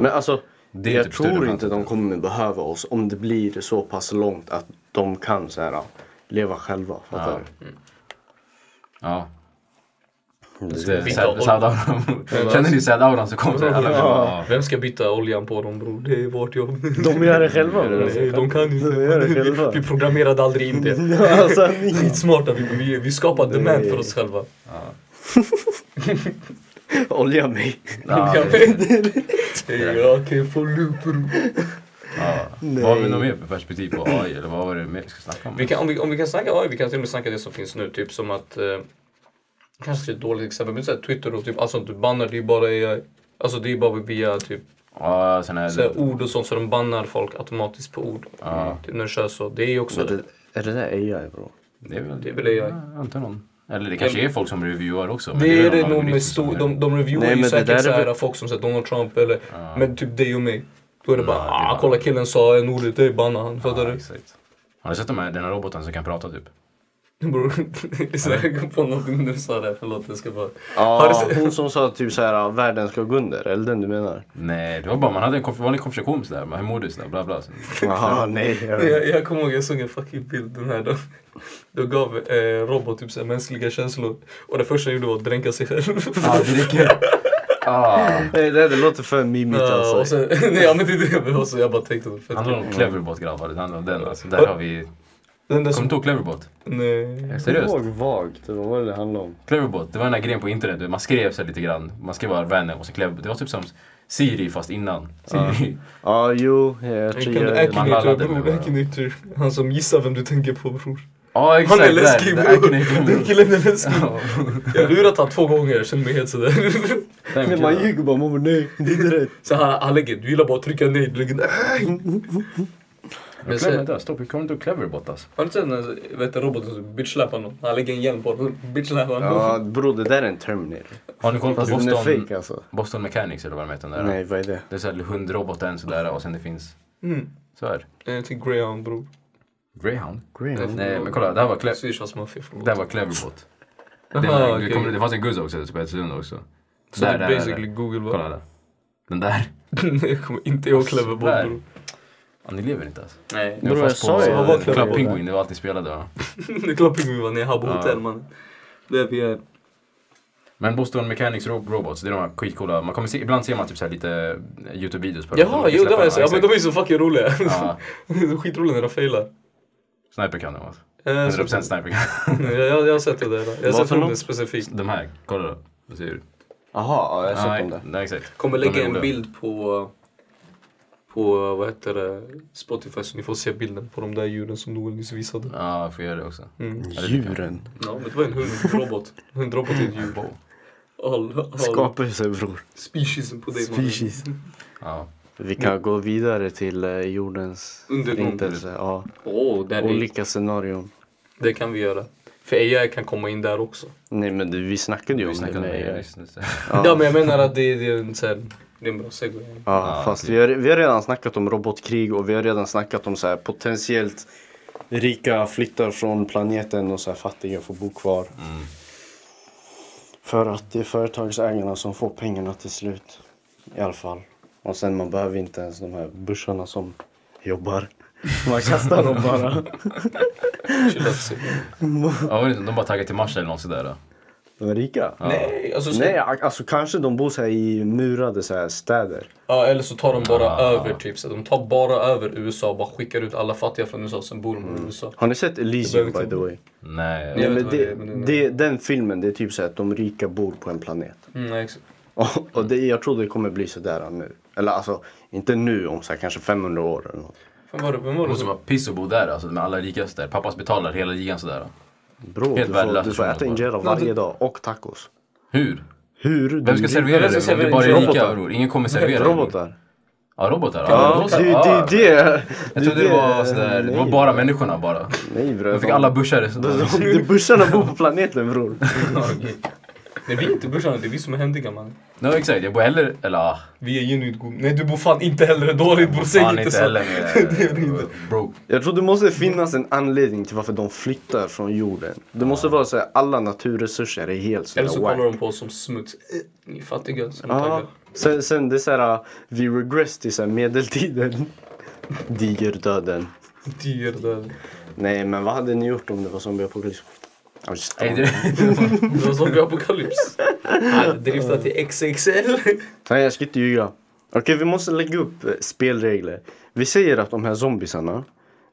S2: Men alltså,
S1: Det är
S2: jag
S1: typ större
S2: tror
S1: chans
S2: inte
S1: att
S2: de kommer behöva oss om det blir så pass långt att de kan så här, leva själva. Fattar du?
S1: Ja.
S3: ska byta
S1: Sad-
S3: ol-
S1: Sad-auran. Känner ni sad-auran så kommer det. Alla blir bara, ah.
S3: Vem ska byta oljan på dem bror? Det är vårt jobb.
S2: De gör det själva.
S3: Nej, de kan
S2: De gör det själva.
S3: inte. Vi programmerade aldrig in
S2: <laughs>
S3: det.
S2: alltså,
S3: Skitsmarta, vi, vi, vi skapar demand för oss själva.
S2: olja mig.
S1: Ja,
S3: Jag vet. Jag kan få loop bror.
S1: Ja. "Ah, Vad har vi något mer för perspektiv på AI? Eller vad var det mer vi ska snacka om?
S3: Vi kan, om, vi, om vi kan snacka AI, vi kan till och med snacka det som finns nu. Typ som att, eh, kanske ett dåligt exempel, men så här, Twitter och typ, allt sånt du bannar, det är bara AI. Alltså det är bara via typ
S1: Ja, sån här...
S3: så här, ord och sånt, så de bannar folk automatiskt på ord. Typ, när du kör så. Det är ju också,
S2: Det, är det där AI bro?
S1: Det är väl...
S3: det är väl AI.
S1: Ja, inte någon. Eller det kanske är folk som reviewar också. men
S3: Det är
S1: väl
S3: det
S1: någon
S3: nog
S1: algoritm
S3: med
S1: som
S3: stor,
S1: gör
S3: de, de reviewar
S2: Nej,
S3: ju
S2: men det där är
S3: säkert så här,
S2: väl-
S3: folk som säger Donald Trump eller, men typ dig och mig. Då är det bara,
S1: det är
S3: ah
S1: bara-
S3: kolla killen sa en ordet, det bannar han. Fattar
S1: Ja,
S3: du?
S1: exakt. Har ni sett de här, den här roboten som kan prata typ?
S3: <laughs> Bror, så jag kom på någonting när du sa det, förlåt jag ska bara...
S2: Ja,
S3: Har du sett-
S2: hon som sa typ så här, världen ska gå under. Eller den du menar?
S1: Nej, det var bara man hade en konf- vanlig konversation sådär. men Hur mår du? Sådär, bla bla. Så-
S2: Jaha, nej. jag vet.
S3: <laughs> Jag, jag kommer ihåg jag såg en fucking bild den här dagen. Då gav eh, Robot typ så här mänskliga känslor och det första han gjorde var att dränka
S2: <laughs>
S3: sig själv.
S1: Ja, det räcker. Ah.
S2: Nej, det, där, det låter för mimigt
S3: Ja, och
S2: alltså.
S3: sen, <laughs> nej, ja, men det är det. Och så jag bara tänkte det.
S1: Det
S3: Fett.
S1: handlar om Cleverbot grabbar. Det handlar om den alltså. Där har vi...
S3: Den
S1: Kommer
S3: där som...
S1: du ihåg Cleverbot?
S3: Nej.
S1: Seriöst?
S2: ihåg vagt vad var det det handlade om.
S1: Cleverbot, det var den här grejen på internet. du vet, Man skrev så här lite grann. Man skrev bara random och så Cleverbot. Det var typ som Siri fast innan. Siri.
S2: Ja, jo. Jag tror jag...
S1: Man
S3: Akinator
S1: lallade med
S3: bror,
S1: varandra.
S3: Akinator. Han som gissar vem du tänker på bror.
S1: Ja,
S3: Han
S1: exakt.
S3: är läskig
S1: där. Det
S3: bror.
S1: är Akinator.
S3: Den killen är läskig.
S1: Ja,
S3: Jag har lurat han två gånger, jag känner mig helt sådär.
S1: den
S2: Nej,
S1: killen.
S2: man ljuger bara. Man bara, nej, det är inte rätt.
S3: Så han, han lägger, du gillar bara att trycka nej. Du lägger nej. Men
S1: Clever,
S3: sen,
S1: vänta, stopp. Hur kommer du ihåg Cleverbot alltså?
S3: Har du sett den här vet du, roboten som bitchsläpar någon? Han lägger en hjälm på honom. Bitchsläpar honom.
S2: Ja, bror, det där är en Terminator.
S1: Har ni koll på
S2: Fast den är
S1: Boston,
S2: fake alltså.
S1: Boston Mechanics eller vad de heter? Den där?
S2: Nej, vad är det?
S1: Det är såhär hundroboten sådär och sen det finns...
S3: Mm.
S1: Så här.
S3: Jag tänkte typ Greyhound bror.
S1: Greyhound?
S2: Green.
S1: Nej men kolla, det här var, Cle-
S3: Swishas maffia förlåt.
S1: det här var Cleverbot. Den
S3: Aha,
S1: här,
S3: okej.
S1: det, kommer, det fanns en guzz också som hette Sunda också.
S3: Så det är basically Google va? <laughs>
S1: Kolla där. Den där.
S3: jag kommer inte ihåg clever bot
S1: Där.
S3: bror.
S1: Ja, ni lever inte alltså.
S3: Nej.
S1: Ni var
S2: Bror, jag
S1: fast
S2: sa
S1: på
S2: ju
S3: det.
S1: eh,
S3: Vad var Cleverbot?
S1: Club Penguin, det var allt ni spelade va?
S3: <laughs> det är klart pingvin var när jag hade på hotell man. Där vi är.
S1: Men Boston Mechanics Ro- Robots, det är de här skitcoola, man kommer se, ibland ser man typ så här lite Youtube-videos på dem.
S3: Jaha,
S1: De
S3: jo det
S1: släpper
S3: var
S1: dem,
S3: jag så. Ja men de
S1: exakt.
S3: är ju så fucking roliga. <laughs>
S1: Ja,
S3: Skitroliga när de failar.
S1: Sniper kan de alltså.
S3: Eh, <laughs>
S1: 100%
S3: så-
S1: sniper kan
S3: Nej, Jag, jag, jag har sett det där. Jag
S2: Vad
S3: har sett
S2: för
S3: hunden
S2: något?
S3: specifikt.
S1: De här, kolla då. Vad säger du?
S2: Jaha, ja, jag har sett om
S1: Nej,
S2: det.
S1: nej exakt.
S3: Kommer
S1: De är
S3: lägga en
S1: roliga.
S3: bild på på vad heter det, Spotify så ni får se bilden på de där djuren som Noel nyss visade.
S1: Ja, jag får göra det också.
S3: Mm.
S2: Djuren.
S3: Ja, men det var en hundrobot. Hundrobot är ett djur. All, all
S2: Skapelse, bror.
S3: speciesen på dig
S2: Species.
S1: Ja.
S2: Vi
S1: Mm.
S2: kan gå vidare till eh, jordens
S3: Undergång.
S2: förintelse. Ja.
S3: mannen. Åh, där är,
S2: Olika scenarion.
S3: det kan vi göra. För AI kan komma in där också.
S2: Nej men du, vi snackade ju om
S1: Vi snackade
S2: det.
S1: om det
S2: med-
S1: nyss. nyss.
S2: Ja.
S3: Ja, men jag menar att det, det är en sån här, det är en bra segway.
S2: Ja,
S1: Ah,
S2: fast
S1: okej.
S2: vi, har, vi har redan snackat om robotkrig och vi har redan snackat om så här, potentiellt rika flyttar från planeten och så här, fattiga får bo kvar. För att det är företagsägarna som får pengarna till slut. I alla fall. Och sen man behöver inte ens de här börsarna som jobbar. Man kastar dem bara.
S3: Chilla sig.
S1: Ja, var det inte- de bara taggar till Mars eller något sådär. då.
S2: De är rika.
S3: Nej, alltså, så,
S2: Nej, alltså kanske de bor så här, i murade så här, städer.
S3: Ja, eller så tar de bara
S1: Ah.
S3: över typ. Så de tar bara över USA och bara skickar ut alla fattiga från USA sen bor de i USA.
S2: Har ni sett Elysium by the way?
S1: Nej.
S3: Ja.
S2: Nej,
S3: Jag vet
S2: men
S3: vad det
S2: det,
S3: är, men-
S2: det, den filmen, det är typ så här att de rika bor på en planet. <laughs>
S3: Mm, nej, exakt.
S2: Och, och det, jag tror det kommer bli sådär nu. Eller alltså, inte nu om så här, kanske 500 år eller något.
S3: Vem var det? Vem var
S1: Det
S3: det?
S1: måste vara piss att bo där alltså, med alla rikaste. där. Pappas betalar hela ligan sådär. då.
S2: Bro,
S1: Helt
S2: du får,
S1: värdelös
S2: du får
S1: person,
S2: äta
S1: bara.
S2: injera
S3: Alltså-
S2: varje dag och tacos.
S1: Hur?
S2: Hur?
S1: Vem ska servera det?
S3: Vem ska
S1: Om Det
S3: servera
S1: bara är rika
S2: robotar?
S1: bror. Ingen kommer servera det. bror.
S2: <laughs> Robotar.
S1: Ja, robotar.
S2: Ja, det
S1: robotar.
S2: är det. det.
S1: Jag trodde det var sådär, det var bara människorna bara.
S2: Nej bror.
S1: De fick
S2: <laughs>
S1: alla börsare.
S2: De bussarna bor på planeten bror.
S3: Nej vi är inte brorsan, det är vi som är händiga man.
S1: No, exakt, jag bor heller, eller ah,
S3: Vi är genuint goda. Nej du bor fan inte heller dåligt bror, säg
S1: fan
S3: inte
S1: inte
S3: så.
S1: heller
S3: <laughs>
S1: mer broke.
S2: Jag tror det måste finnas en anledning till varför de flyttar från jorden. Det måste vara så här, alla naturresurser är helt så
S3: Eller så
S2: här,
S3: kollar
S2: whack.
S3: de på oss som smuts. Eh, Ni är fattiga. Så de
S2: Ja.
S3: taggar.
S2: Sen, sen det är så här, uh, vi regress till så här medeltiden. Digerdöden.
S3: Dyr där.
S2: Nej men vad hade ni gjort om det var zombieapokalyps? Ja, just
S1: Nej,
S2: det.
S1: det-
S3: Det var zombieapokalyps. Han driftade till XXL.
S2: Nej jag ska inte ljuga. Okej vi måste lägga upp eh, spelregler. Vi säger att de här zombisarna,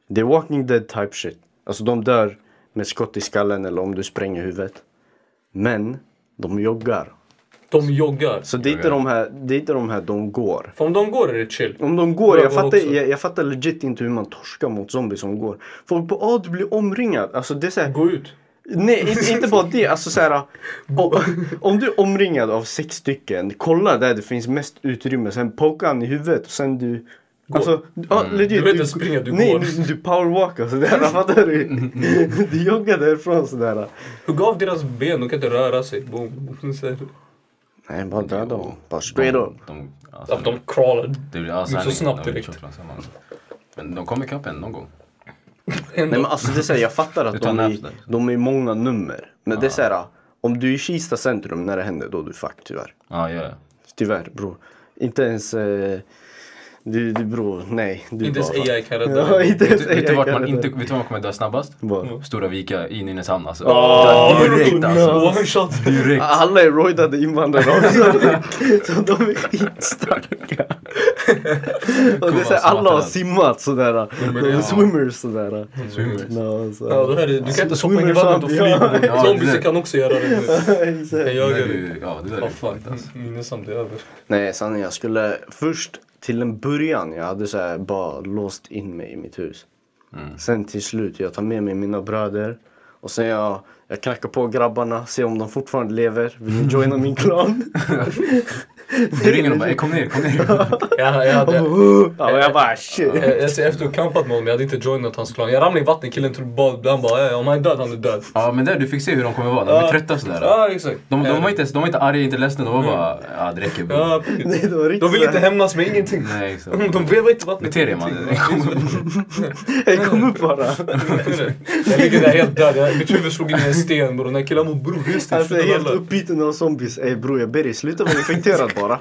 S2: det är walking dead type shit. Alltså de dör med skott i skallen eller om du spränger huvudet. Men de joggar.
S3: De joggar.
S2: Så det är inte de här, det är inte de här de går.
S3: För om de går är det chill.
S2: Om de går,
S3: Jag
S2: jag
S3: går
S2: fattar,
S3: också.
S2: jag, jag fattar legit inte hur man torskar mot zombies som går. Folk bara åh du blir omringad. Alltså det är såhär,
S3: Gå ut.
S2: nej inte, inte bara det. Alltså
S3: <laughs>
S2: såhär, om, om du är omringad av sex stycken, kolla där det finns mest utrymme. Sen pokar han i huvudet och sen du Alltså, ja, legit,
S3: Mm. Du vet inte springa, du
S2: nej,
S3: går.
S2: Nej, du powerwalkar sådär, <laughs> fattar du?
S3: <laughs>
S2: Du joggar därifrån sådär.
S3: Hugg av deras ben, de kan inte röra sig. Boom. Så här.
S2: Nej, bara döda dem. Bara straight up.
S1: De, alltså,
S3: Att de crawlar.
S1: det blir alltså, ja,
S3: så
S1: sanningen,
S3: snabbt
S1: de blir
S3: direkt.
S1: tjockla, sanningen. Men de kommer ikapp en någon gång.
S2: Nej men alltså det är så här, jag fattar
S1: Du
S2: att
S1: tar Ah.
S2: de är,
S1: naps där.
S2: de är många nummer. Men det är så här, om du är i Kista centrum när det händer då är du fuck tyvärr.
S1: Ja, ja, ja.
S2: Tyvärr bror. Inte ens... Eh, du, du bror, nej. Du
S3: Inte ens
S2: bara-
S3: AI kan rädda
S2: Ja,
S3: dem.
S2: inte
S1: Vet
S2: ens
S1: du- vet du
S2: AI
S1: vart
S2: kan
S1: man
S2: rädda
S1: inte,
S2: dem.
S1: vet du var man kommer dö snabbast?
S2: Var?
S1: Stora Vika i Nynäshamn alltså.
S3: Åh,
S1: Dö direkt alltså.
S3: One shot.
S1: Direkt.
S2: Ah, Alla är roidade invandrare också.
S1: <laughs>
S2: så de är skitstarka. Och det är så här, alla har simmat sådär. De är
S1: ja.
S2: swimmers sådär.
S1: Swimmers.
S2: Ja, så. <laughs>
S3: Ja, det här är, du kan inte hoppa in i
S2: Swimmers
S3: vattnet och
S2: up,
S3: fly.
S1: ja.
S3: Zombies kan också göra det nu.
S2: Exakt.
S3: Jag
S1: Det
S3: gör
S1: där är
S3: det.
S1: ju- Ja, det där är
S3: Vad
S1: ju
S3: fan,
S1: fucked alltså.
S3: minnesamt det är över.
S2: Nej, sanningen. Jag skulle först till en början, jag hade så här bara låst in mig i mitt hus. Sen till slut, jag tar med mig mina bröder och sen jag, jag knackar på grabbarna, ser om de fortfarande lever. Vill ni joina min klan?
S1: Du ringer och bara, "Ey, kom ner, kom ner.
S3: Jag, jag,
S2: Och
S3: hade,
S2: ja, och jag bara shit.
S3: jag, jag, ser efter att ha campat med honom, jag hade inte joinat hans klan. Jag ramlade i vattnet, killen trodde bara, han bara, "Ja, ja, om han är död, han är död.
S1: Ja, men där du fick se hur de kommer vara. De är
S3: Ja.
S1: trötta sådär.
S3: Ja, exakt.
S1: De, de, var inte, ens- de var inte arga, inte ledsna. De var bara, ja det räcker bror.
S3: Mm. Ja,
S2: <laughs> Nej, det var
S3: de
S2: riktigt
S3: vill
S2: så
S3: inte
S2: här-
S3: hämnas med ingenting.
S1: Nej, exakt.
S3: De vevar inte vattnet.
S1: Bete dig, mannen. Det kommer- <laughs>
S2: Hey, kom upp bara.
S3: Jag ligger där helt död, jag, mitt huvud slog in i en sten bror. Den här killen mår bror, just det.
S2: Alltså jag är helt
S3: Alltså,
S2: uppbiten av zombies. Ey bror, jag ber dig sluta vara infekterad bara.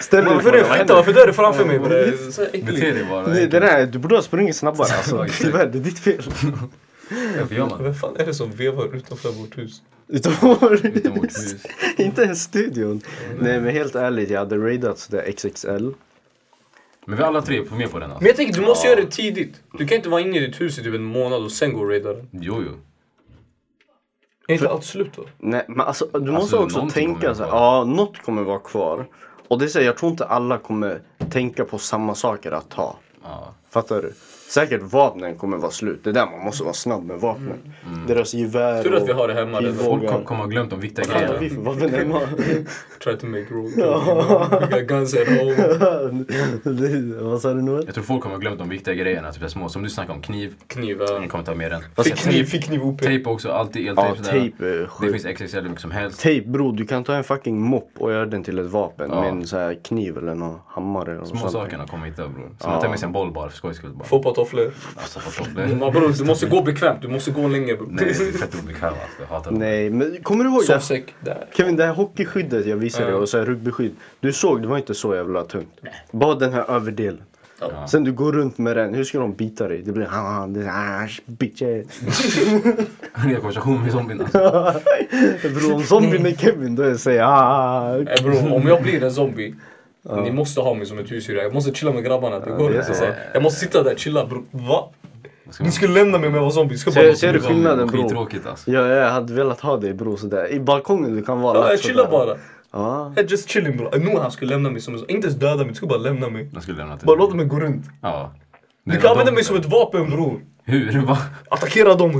S2: Ställ dig
S3: varför är
S2: på
S3: det
S2: mig.
S3: fitta? Varför dör du framför mig bror? Det är så
S1: Bete
S3: äckligt.
S1: dig bara.
S2: Nej, det där, du borde ha sprungit snabbare alltså.
S1: Exakt.
S2: Tyvärr, det är ditt fel.
S1: Varför gör man?
S3: Vem fan är det som vevar utanför vårt hus?
S2: Utan vår
S1: Utan vårt
S2: hus.
S1: hus.
S2: <laughs> Inte ens studion. Nej men helt ärligt, jag hade raidat sådär XXL.
S1: Men vi alla tre är med på den alltså.
S3: Men jag tänker, du måste göra det tidigt. Du kan inte vara inne i ditt hus i typ en månad och sen gå och raida den.
S1: Jo, jo.
S3: Är inte allt slut då?
S2: Nej men alltså du måste
S1: Alltså,
S2: också
S1: någonting kommer
S2: tänka
S1: vara
S2: så här,
S1: kvar.
S2: ja något kommer vara kvar. Och det är så här, jag tror inte alla kommer tänka på samma saker att ta.
S1: Ja.
S2: Fattar du? Säkert vapnen kommer vara slut. Det är där man måste vara snabb med vapnen.
S1: Mm.
S2: Deras gevär
S3: Tur att vi har det hemma,
S2: och
S3: eller?
S1: Folk
S2: pilbågar.
S1: kom- kommer ha glömt de viktiga
S2: Vad fan har vi
S1: grejerna.
S2: för vapen hemma? <laughs>
S3: Try to make roll. <laughs> We got guns at home.
S2: Det- Vad sa du Noel?
S1: Jag tror folk kommer ha glömt de viktiga grejerna. Typ där små, som du snackade om, kniv.
S3: Knivar.
S1: Ingen kommer ta med den.
S3: Fick kniv,
S1: Tejp,
S3: fick kniv OP.
S1: tejp också, alltid
S2: Ja,
S1: eltejp. typ sådär.
S2: tejp är
S1: Det
S2: sjukt.
S1: finns XXL hur mycket som helst.
S2: Tejp bror, du kan ta en fucking mopp och göra den till ett vapen
S1: Ja.
S2: med en så här kniv eller någon hammare. Eller
S1: Små
S2: sånt.
S1: sakerna kommer hitta bror. Som att ta med sig en boll bara för skojs skull. Bara.
S3: Fotbolltofflor.
S1: Alltså, för fan, det-
S2: <laughs>
S3: Men bror, du måste gå bekvämt. Du måste gå länge bror.
S1: Nej, det
S3: <laughs>
S1: är fett obekvämt alltså. Jag hatar det.
S2: Nej, men kommer du ihåg det? här-
S3: Sovsäck där.
S2: Kevin, det här hockeyskyddet jag visade dig
S3: Ja.
S2: och så här rugbyskydd. Du såg, det var inte så jävla tungt. Bara den här överdelen.
S3: Ja.
S2: Sen du går runt med den, hur ska de bita dig? Det blir ah, det är, ah, bitch ass.
S1: <laughs> Jag konversation med zombien alltså.
S2: <laughs> Bror om zombien är Kevin då är jag säger ah.
S3: Eh, bror, om jag blir en zombie. Ni måste ha mig som ett husdjur. Jag måste chilla med grabbarna. Det går
S2: det är
S3: inte.
S2: så.
S3: Så här, Jag måste sitta där och chilla bror. Va?
S1: Vad ska
S3: Ni
S1: man-
S3: skulle lämna mig om jag var zombie. Ska
S2: Ser,
S3: bara...
S2: <laughs> ser du skillnaden bror?
S1: Skittråkigt alltså.
S2: Ja, jag hade velat ha dig bror sådär. I balkongen du kan vara
S3: Ja,
S2: lax
S3: jag chillar
S2: sådär.
S3: bara.
S2: Ja. <laughs>
S3: Jag just chilling bror. Nu han skulle lämna mig som en zombie. Inte ens döda mig. Du skulle bara lämna mig.
S1: Jag skulle lämna till
S3: Bara låt mig gå runt.
S1: Ja.
S3: Du kan använda mig som ett vapen bror.
S1: <laughs> Hur?
S2: <laughs>
S1: Va?
S3: Attackera dem.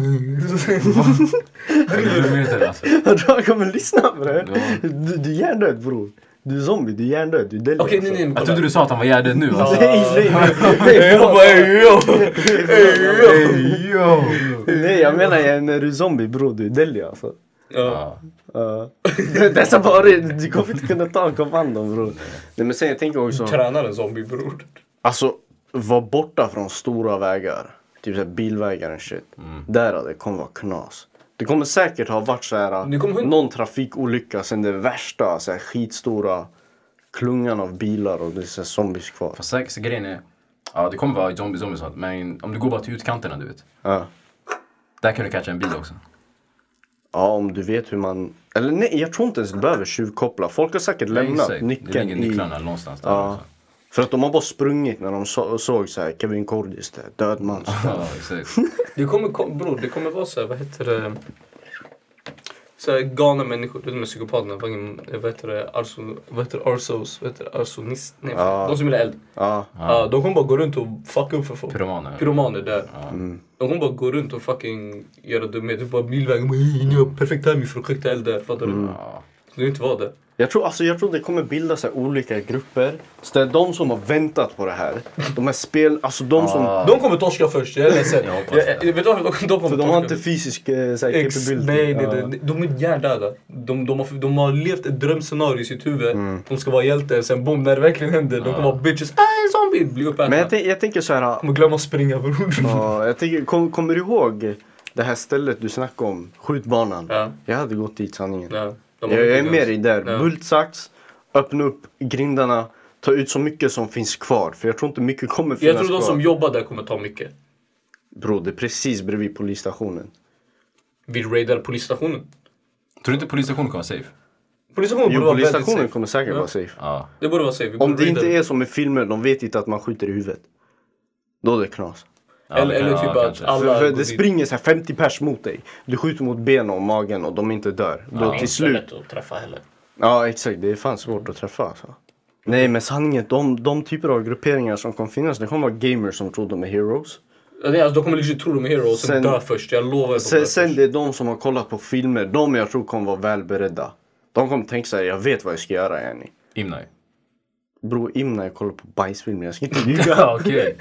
S1: Kilometer alltså.
S2: Jag tror han kommer lyssna på det.
S1: Ja.
S2: Du, du är hjärndöd bror. Du är zombie, du är hjärndöd, du är deli.
S3: <laughs> Okej, nej, nej, men
S1: Jag
S3: kolla.
S1: trodde du sa att han var hjärndöd nu
S2: <laughs>
S1: alltså.
S2: nej, nej, nej,
S3: Ey,
S2: nej,
S3: <laughs> jag bara, ey, yo!
S2: förlåt.
S1: Ey, yo!
S2: <laughs> nej, jag menar ja, när du är zombie bror, du är deli alltså.
S3: Ja.
S1: Ja.
S2: Uh, <laughs> dessa bara, du kommer inte kunna ta kommandon bror. Nej men sen jag tänker också.
S3: Tränar en zombie bror.
S2: Alltså, var borta från stora vägar. Typ såhär bilvägar och shit. Där hade det kommer vara knas. Det kommer säkert ha varit
S3: Det
S2: såhär,
S3: kommer hund-
S2: någon trafikolycka sen det värsta, såhär skitstora klungan av bilar och det är såhär zombies kvar.
S1: Fast säkert, så grejen är, ja det kommer vara zombies zombies och sånt, men om du går bara till utkanterna du vet.
S2: Ja.
S1: Där kan du catcha en bil också.
S2: ja, om du vet hur man... Eller nej, jag tror inte ens du behöver tjuvkoppla. Folk har säkert lämnat
S1: Exakt. Det
S2: nyckeln
S1: ligger
S2: i...
S1: nycklarna någonstans där
S2: Ja.
S1: också.
S2: För att de har bara sprungit när de så- såg såhär Kevin Cordis, där, död man.
S1: Ja, exakt.
S3: Det kommer, kom- bror, det kommer vara så här, vad heter det? Så här galna människor, du vet de här psykopaterna, fucking, vad heter det, arso, vad heter det, arsos, vad heter det, arsonist, nej,
S2: Ja.
S3: de som gillar eld.
S2: Ja,
S3: Ja, de kommer bara gå runt och fucka upp för folk.
S1: Pyromaner.
S3: Pyromaner där. De kommer bara gå runt och fucking göra dumheter. Bara bilvägen, bara, "Hej, ni har perfekt timing för att skjuta eld där, fattar du?
S1: Ja.
S3: Så det är inte vara där.
S2: Jag tror, alltså, jag tror det kommer bildas så här olika grupper. Så det är de som har väntat på det här. De här spel, alltså de som...
S1: Ja.
S3: De kommer torska först, jag är ledsen.
S1: Jag hoppas
S3: Jag- jag- Vet du varför de- de kommer
S2: För de har inte
S3: torska?
S2: fysisk eh, så här,
S3: Ex, nej,
S2: capability.
S3: nej,
S2: Ja.
S3: nej, de är hjärndöda. De, de, har, de har levt ett drömscenario i sitt huvud. De ska vara hjältar, sen boom, när det verkligen händer, de kommer vara bitches. Äh, en zombie! Blir uppätna.
S2: Men jag, tänk, jag tänker så här...
S3: kommer glömma att springa bror.
S2: ja, jag tänker, kom, kommer du ihåg det här stället du snackade om? Skjutbanan.
S3: Ja.
S2: Jag hade gått dit sanningen.
S3: Ja, de har
S2: Jag, jag är
S3: mycket
S2: med
S3: guns.
S2: dig där.
S3: Ja.
S2: Bultsax, öppna upp grindarna, ta ut så mycket som finns kvar. För jag tror inte mycket kommer finnas
S3: Jag tror
S2: kvar.
S3: de som jobbar där kommer ta mycket.
S2: Bro, det är precis bredvid polisstationen.
S3: Vi raidar polisstationen.
S1: Tror du inte polisstationen kommer vara safe?
S3: Polisstationen borde
S2: Jo,
S3: vara väldigt
S2: polisstationen
S3: safe.
S2: kommer säkert
S3: Ja.
S2: vara safe.
S1: Ja.
S3: Det borde vara safe. Vi
S2: Om
S3: borde
S2: det inte
S3: raida.
S2: är som i filmer, de vet inte att man skjuter i huvudet. Då är det knas.
S1: Ja,
S3: Eller-
S1: det kan-
S3: eller
S1: ja,
S3: typ att
S1: kanske.
S3: alla-
S2: För, för
S3: går
S2: det
S3: dit.
S2: springer så här 50 pers mot dig. Du skjuter mot benen och magen och de inte dör. Då till slut.
S3: lätt att träffa heller.
S2: Ja exakt, det är fan svårt att träffa alltså. Nej men sanningen, de, de typer av grupperingar som kommer finnas, det kommer vara gamers som tror de är heroes.
S3: Nej, alltså, de kommer legit tro de är heroes och
S2: Sen-
S3: sen dö först. Jag lovar. att de dör
S2: Sen, sen
S3: först.
S2: det är de som har kollat på filmer, de jag tror kommer vara välberedda. De kommer tänka såhär, jag vet vad jag ska göra yani.
S1: Imnai.
S2: Bro, Im när jag kollar på bajsfilmer, jag ska
S3: <laughs>
S2: inte ljuga.
S1: Ja, okej.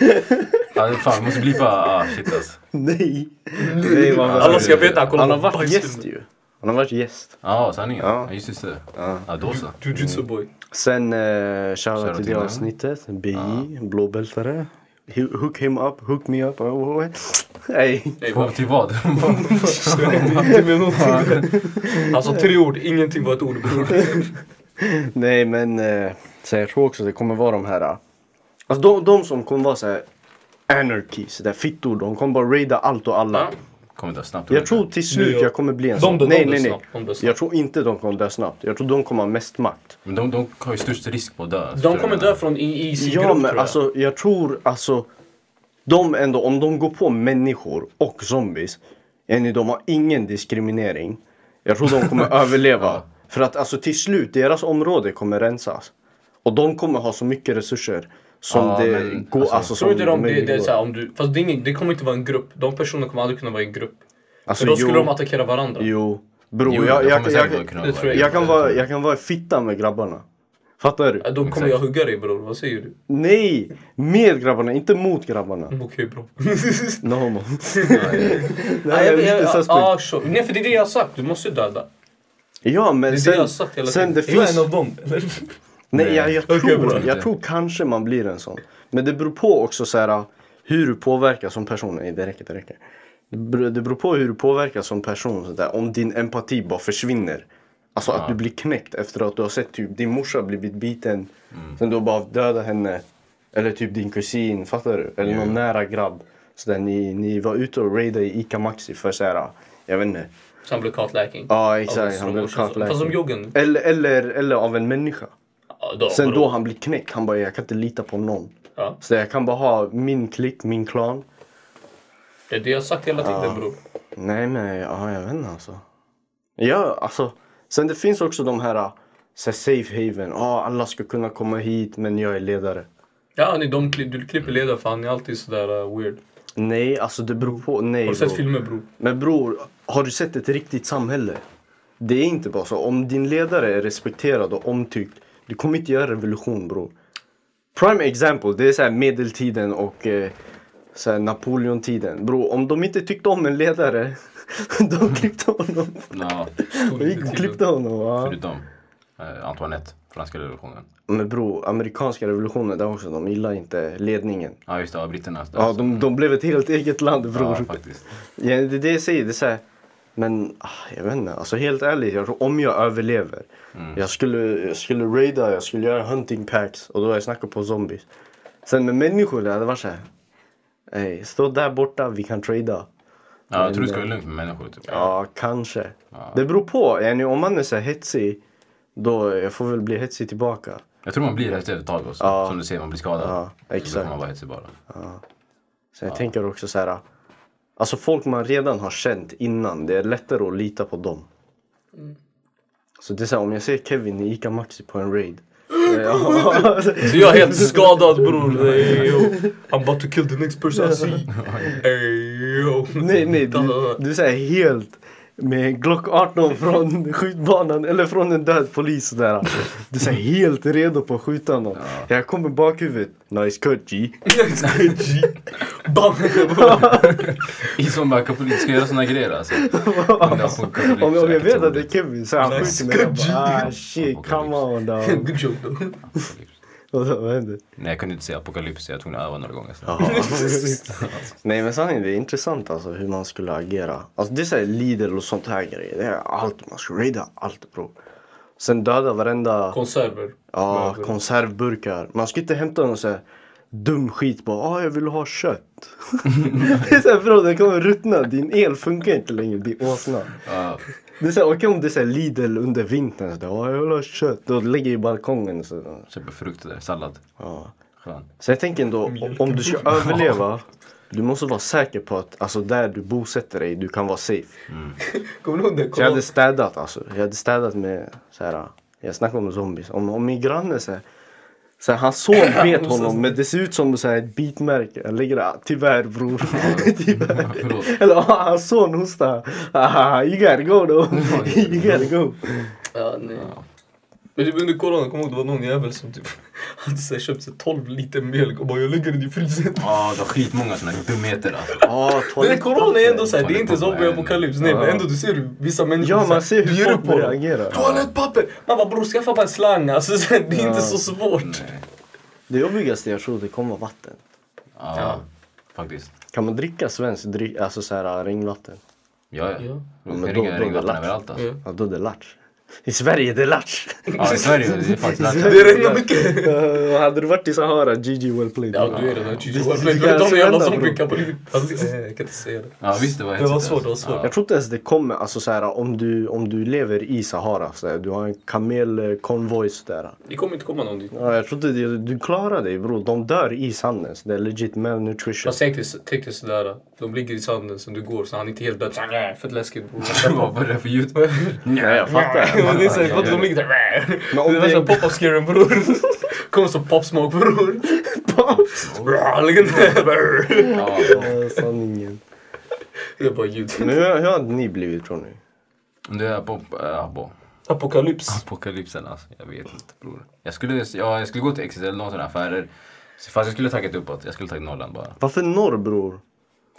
S1: Ja, det- fan, vi måste blipa. Ah, shit alltså.
S2: Nej! Nej man,
S3: Alla ska veta. han kollar
S2: han har
S3: på
S2: varit
S3: bajsfilmer.
S2: gäst ju. Han har varit gäst.
S1: Ja, sanningen.
S2: Ja.
S1: Ja, just, just det. Ja, då så.
S3: Alltså,
S2: Mm.
S3: Jujutsu boy.
S2: Sen eh, shoutout till
S1: till
S2: det
S1: den.
S2: avsnittet. BI, blåbältare. Hu- Hook him up, hook me up. Oh, oh, oh. Hey.
S3: Nej,
S1: På-
S3: vad-
S1: Till vad? <laughs>
S2: <laughs>
S3: Inte med någonting. Han sa tre ord, ingenting var ett
S2: <laughs>
S3: ord bror.
S2: Nej men eh, så jag tror också det kommer vara de här. eh, Alltså de, de som kommer vara så här anarchies, där fittor. De kommer bara raida allt och alla.
S3: Ja.
S1: Kommer dö snabbt.
S2: Jag tror till slut
S3: jag-
S2: jag kommer bli en
S3: De
S2: sån.
S3: dör- de
S2: nej,
S3: dör
S2: nej,
S3: snabbt, de dör
S2: nej.
S3: snabbt.
S2: Jag tror inte de kommer dö snabbt. Jag tror de kommer ha mest makt.
S1: Men de, de har ju störst risk på att dö. alltså,
S3: Alltså, De kommer dö från i, i sin
S2: Ja,
S3: grupp
S2: men
S3: tror jag.
S2: alltså jag tror alltså. De ändå, om de går på människor och zombies. Yani, de har ingen diskriminering. Jag tror de
S3: <laughs>
S2: kommer överleva. För att alltså till slut, deras område kommer rensas. Och de kommer ha så mycket resurser. Som
S1: Ja,
S2: det
S1: men,
S2: går,
S1: alltså,
S2: alltså,
S3: Tror
S2: som
S3: inte de, det,
S2: möjligt
S3: det, är
S2: går.
S3: såhär, om du, fast det, är ingen, det kommer inte vara en grupp. De personerna kommer aldrig kunna vara i en grupp.
S2: Alltså,
S3: För då skulle
S2: jo,
S3: de attackera varandra.
S2: Jo, bro.
S1: Jo,
S2: jag,
S1: de
S2: jag,
S1: kommer
S2: jag,
S1: säkert
S2: jag,
S1: kunna
S3: det tror jag
S1: vara-
S2: kan vara, jag kan vara i fitta med grabbarna. Fattar du?
S3: Äh, Då kommer jag hugga dig bror, vad säger du?
S2: Nej! Med grabbarna, inte mot grabbarna.
S3: Mm, Okej bror. <laughs>
S2: No homo. Nej, jag är lite suspect.
S3: ah, sure. Nej för det är det jag har sagt, du måste döda.
S2: Ja men
S3: Det är
S2: sen,
S3: det jag har sagt hela
S2: sen det
S3: tiden. Jag är
S2: finns...
S3: en av dem. eller?
S2: Nej jag, jag,
S3: Okej,
S2: tror,
S3: bra.
S2: jag tror kanske man blir en sån. Men det beror på också så här, hur du påverkas som person. Nej det räcker, det räcker. Det beror, det beror på hur du påverkas som person. Så där. Om din empati bara försvinner. Alltså att du blir knäckt efter att du har sett typ din morsa blivit biten.
S3: Mm.
S2: Sen du har bara dödat henne. Eller typ din kusin, fattar du? Eller någon nära grabb. Så där, ni, ni var ute och raidade i Ica Maxi för så här, jag vet inte.
S3: Så han blev kartläking.
S2: Ja
S3: Av
S2: exakt,
S3: hans
S2: han blev
S3: bror. Fast som
S2: kartlagd.
S3: joggen.
S2: Eller, eller, eller av en människa.
S3: Ja, då,
S2: Sen
S3: bror.
S2: då han blir knäckt, han bara jag kan inte lita på någon.
S3: Ja,
S2: Så jag kan bara ha min klick, min klan.
S3: det är det jag har sagt hela tiden bror.
S2: Nej men ja, jag vet inte alltså. Ja alltså. Sen det finns också de här så här safe haven. Ja alla ska kunna komma hit men jag är ledare.
S3: Ja, nej, de, kli- du klipper ledare för han är alltid sådär uh, weird.
S2: Nej alltså det beror på. Nej
S3: Har du sett
S2: bror.
S3: filmer bror?
S2: Men bror, har du sett ett riktigt samhälle? Det är inte bara så. Om din ledare är respekterad och omtyckt. Du kommer inte göra revolution bror. Prime example, det är så här medeltiden och eh, så här Napoleontiden. Bror, om de inte tyckte om en ledare, <laughs> de klippte honom.
S1: Ja,
S3: Stod
S2: De
S3: inte till.
S2: klippte honom. Ja.
S1: förutom eh, Antoinette, franska revolutionen.
S2: Men bror, amerikanska revolutionen där också, de gillar inte ledningen.
S1: Ja just det, ja, britterna.
S2: Ja, de, de blev ett helt eget land bror.
S1: Ja, faktiskt.
S2: Ja, det är det jag säger. Det är så här, men ah, jag vet inte, alltså helt ärligt, jag tror, om jag överlever.
S1: Mm.
S2: Jag, skulle, jag skulle raida, jag skulle göra hunting packs och då har jag snackat på zombies. Sen med människor, det hade varit så här. Ey, stå där borta, vi kan trada.
S1: Ja, jag tror det ska vara lugnt med människor. Typ.
S2: Ja, kanske.
S1: Ja.
S2: Det beror på. Är ni, om man är så här hetsig, då jag får väl bli hetsig tillbaka.
S1: Jag tror man blir hetsig efter ett tag också.
S2: Ja.
S1: Som du säger, man blir skadad.
S2: Ja,
S1: Så då
S2: exakt.
S1: kommer man vara hetsig bara. <laughs>
S2: Så jag tänker också så här. Alltså folk man redan har känt innan, det är lättare att lita på dem.
S3: Mm.
S2: Så det är så här, om jag ser Kevin i Ica Maxi på en
S3: <gasps>
S2: raid. ja, <laughs>
S3: Så jag är helt skadad bror. Ey, yo. I'm about to kill the next person
S2: <laughs>
S3: I see. Ey, yo.
S2: nej, nej, du,
S3: <laughs>
S2: du är så här helt med en Glock 18 från skjutbanan eller från en död polis sådär. Du är så här helt redo på att skjuta någon. Jag kommer bakhuvudet. Nice cut G. <laughs>
S3: Bam!
S1: Som bara, Kapolin ska göra såna grejer
S2: <laughs>
S1: alltså. Om det funkar, Kapolin,
S2: Om,
S1: så
S2: om jag vet att det är
S1: otroligt.
S2: Kevin så han
S3: Nice
S2: skjuter mig. Jag
S3: cut, G.
S2: bara, ah shit come on
S3: <laughs>
S2: dog.
S3: Good joke though.
S2: Och så, vad händer?
S1: Nej, jag kunde inte säga apokalyps. Jag var tvungen att öva några gånger. Så.
S2: Ja. Nej men sanningen, det är intressant alltså hur man skulle agera. Alltså det är såhär Lidl och sånt här grejer. Det är allt, man ska raida allt bro. Sen döda varenda
S3: Konserver.
S2: ja, konservburkar. Man ska inte hämta någon såhär dum skit bara ah jag vill ha kött. det är såhär bro den kommer ruttna, din el funkar inte längre, din åsna.
S1: Ja.
S2: Det är såhär okej om det är såhär Lidl under vintern sådär ah jag vill ha kött. Då lägger jag i balkongen så.
S1: Köper frukt där, sallad.
S2: Ja.
S1: Skön.
S2: Så jag tänker ändå, o- om
S3: <laughs>
S2: du ska överleva, du måste vara säker på att alltså, där du bosätter dig, du kan vara safe.
S3: Kommer du ihåg den?
S2: Så jag hade städat alltså. Jag hade städat med så här, jag snackar om zombies. Om, om min granne så här, så här, hans son
S3: <laughs>
S2: bet honom men det ser ut som så här, ett bitmärke. Jag lägger det, ah, tyvärr <laughs> bror. tyvärr.
S1: Förlåt.
S2: Eller ah, hans son hostar. Ah, you gotta go
S3: <laughs>
S2: though. <laughs> you gotta go.
S3: Ja, nej. Men typ under corona, kommer jag ihåg det var någon jävel som typ <laughs> hade så här, köpt sig 12 liter mjölk och bara jag lägger den i frysen.
S1: Ja, det var skitmånga såna dumheter alltså.
S2: Ah,
S3: <laughs> Men corona är ändå såhär, det är inte
S1: Toalettpapper.
S3: zombieapokalyps. Nej men ändå du ser hur vissa människor
S2: Ja, man
S3: så här,
S2: ser hur
S3: du ger upp
S2: folk
S3: på dem.
S2: reagerar.
S3: Toalettpapper! Man bara bror skaffa bara en slang alltså så här, det är inte så svårt.
S1: Nej.
S2: Det jobbigaste jag tror det kommer vara vatten.
S1: Ja,
S3: Ja.
S1: faktiskt.
S2: Kan man dricka svensk dryck, alltså så här regnvatten?
S1: Ja,
S3: Ja.
S1: ja.
S2: Ja, men
S1: Det
S2: då-
S1: ringer
S2: då-
S1: regnvatten
S2: lax.
S1: överallt alltså.
S3: Ja.
S2: Ja, då är det latch. I Sverige är det latch!
S1: Ja, i Sverige det är faktiskt
S2: <laughs>
S1: lax.
S3: Det regnar mycket.
S2: Eh, <laughs> hade du varit i Sahara, GG well played.
S3: Ja du är redan 20 år.
S2: Det-
S3: Men
S2: det
S3: du vet
S2: kan
S3: om jävla
S2: hända, bror.
S3: zombieapokalyps. Alltså, eh, <laughs> jag kan inte säga det.
S1: Ja, visst det var
S3: Det var
S1: hetsigt,
S3: svårt, det var
S1: alltså.
S3: svårt.
S1: Ja.
S2: Jag tror inte ens det kommer, alltså så här, om, du, om du lever i Sahara, så här, du har en kamelkonvoj där.
S3: Det kommer inte komma någon dit.
S2: Ja, jag tror inte det, du klarar dig bror, de dör i sanden. Så det är legit malnutrition.
S3: Fast tänk dig, tänk dig sådär, de ligger i sanden som du går så han är inte helt död. Såhär, Fett läskigt bror. <laughs>
S1: Vad var <laughs> det för ljud?
S2: Ja, jag fattar.
S3: Men det är såhär, fattar du, de ligger där.
S2: Men om
S3: det
S2: det-
S3: är värsta pop-up-scaren bror. Kommer som popsmak bror. Legendär.
S1: Ja,
S2: Ja, Sanningen.
S3: Jag bara ljud.
S2: Men hur, hur hade ni blivit tror ni?
S1: om du är på... Äh, på
S3: Apokalyps.
S1: apokalypsen alltså. Jag vet inte bror. Jag skulle, ja, jag skulle gå till XXL, någon sån här affärer. Fast jag skulle tagit uppåt. Jag skulle tagit nollan bara.
S2: Varför norr bror?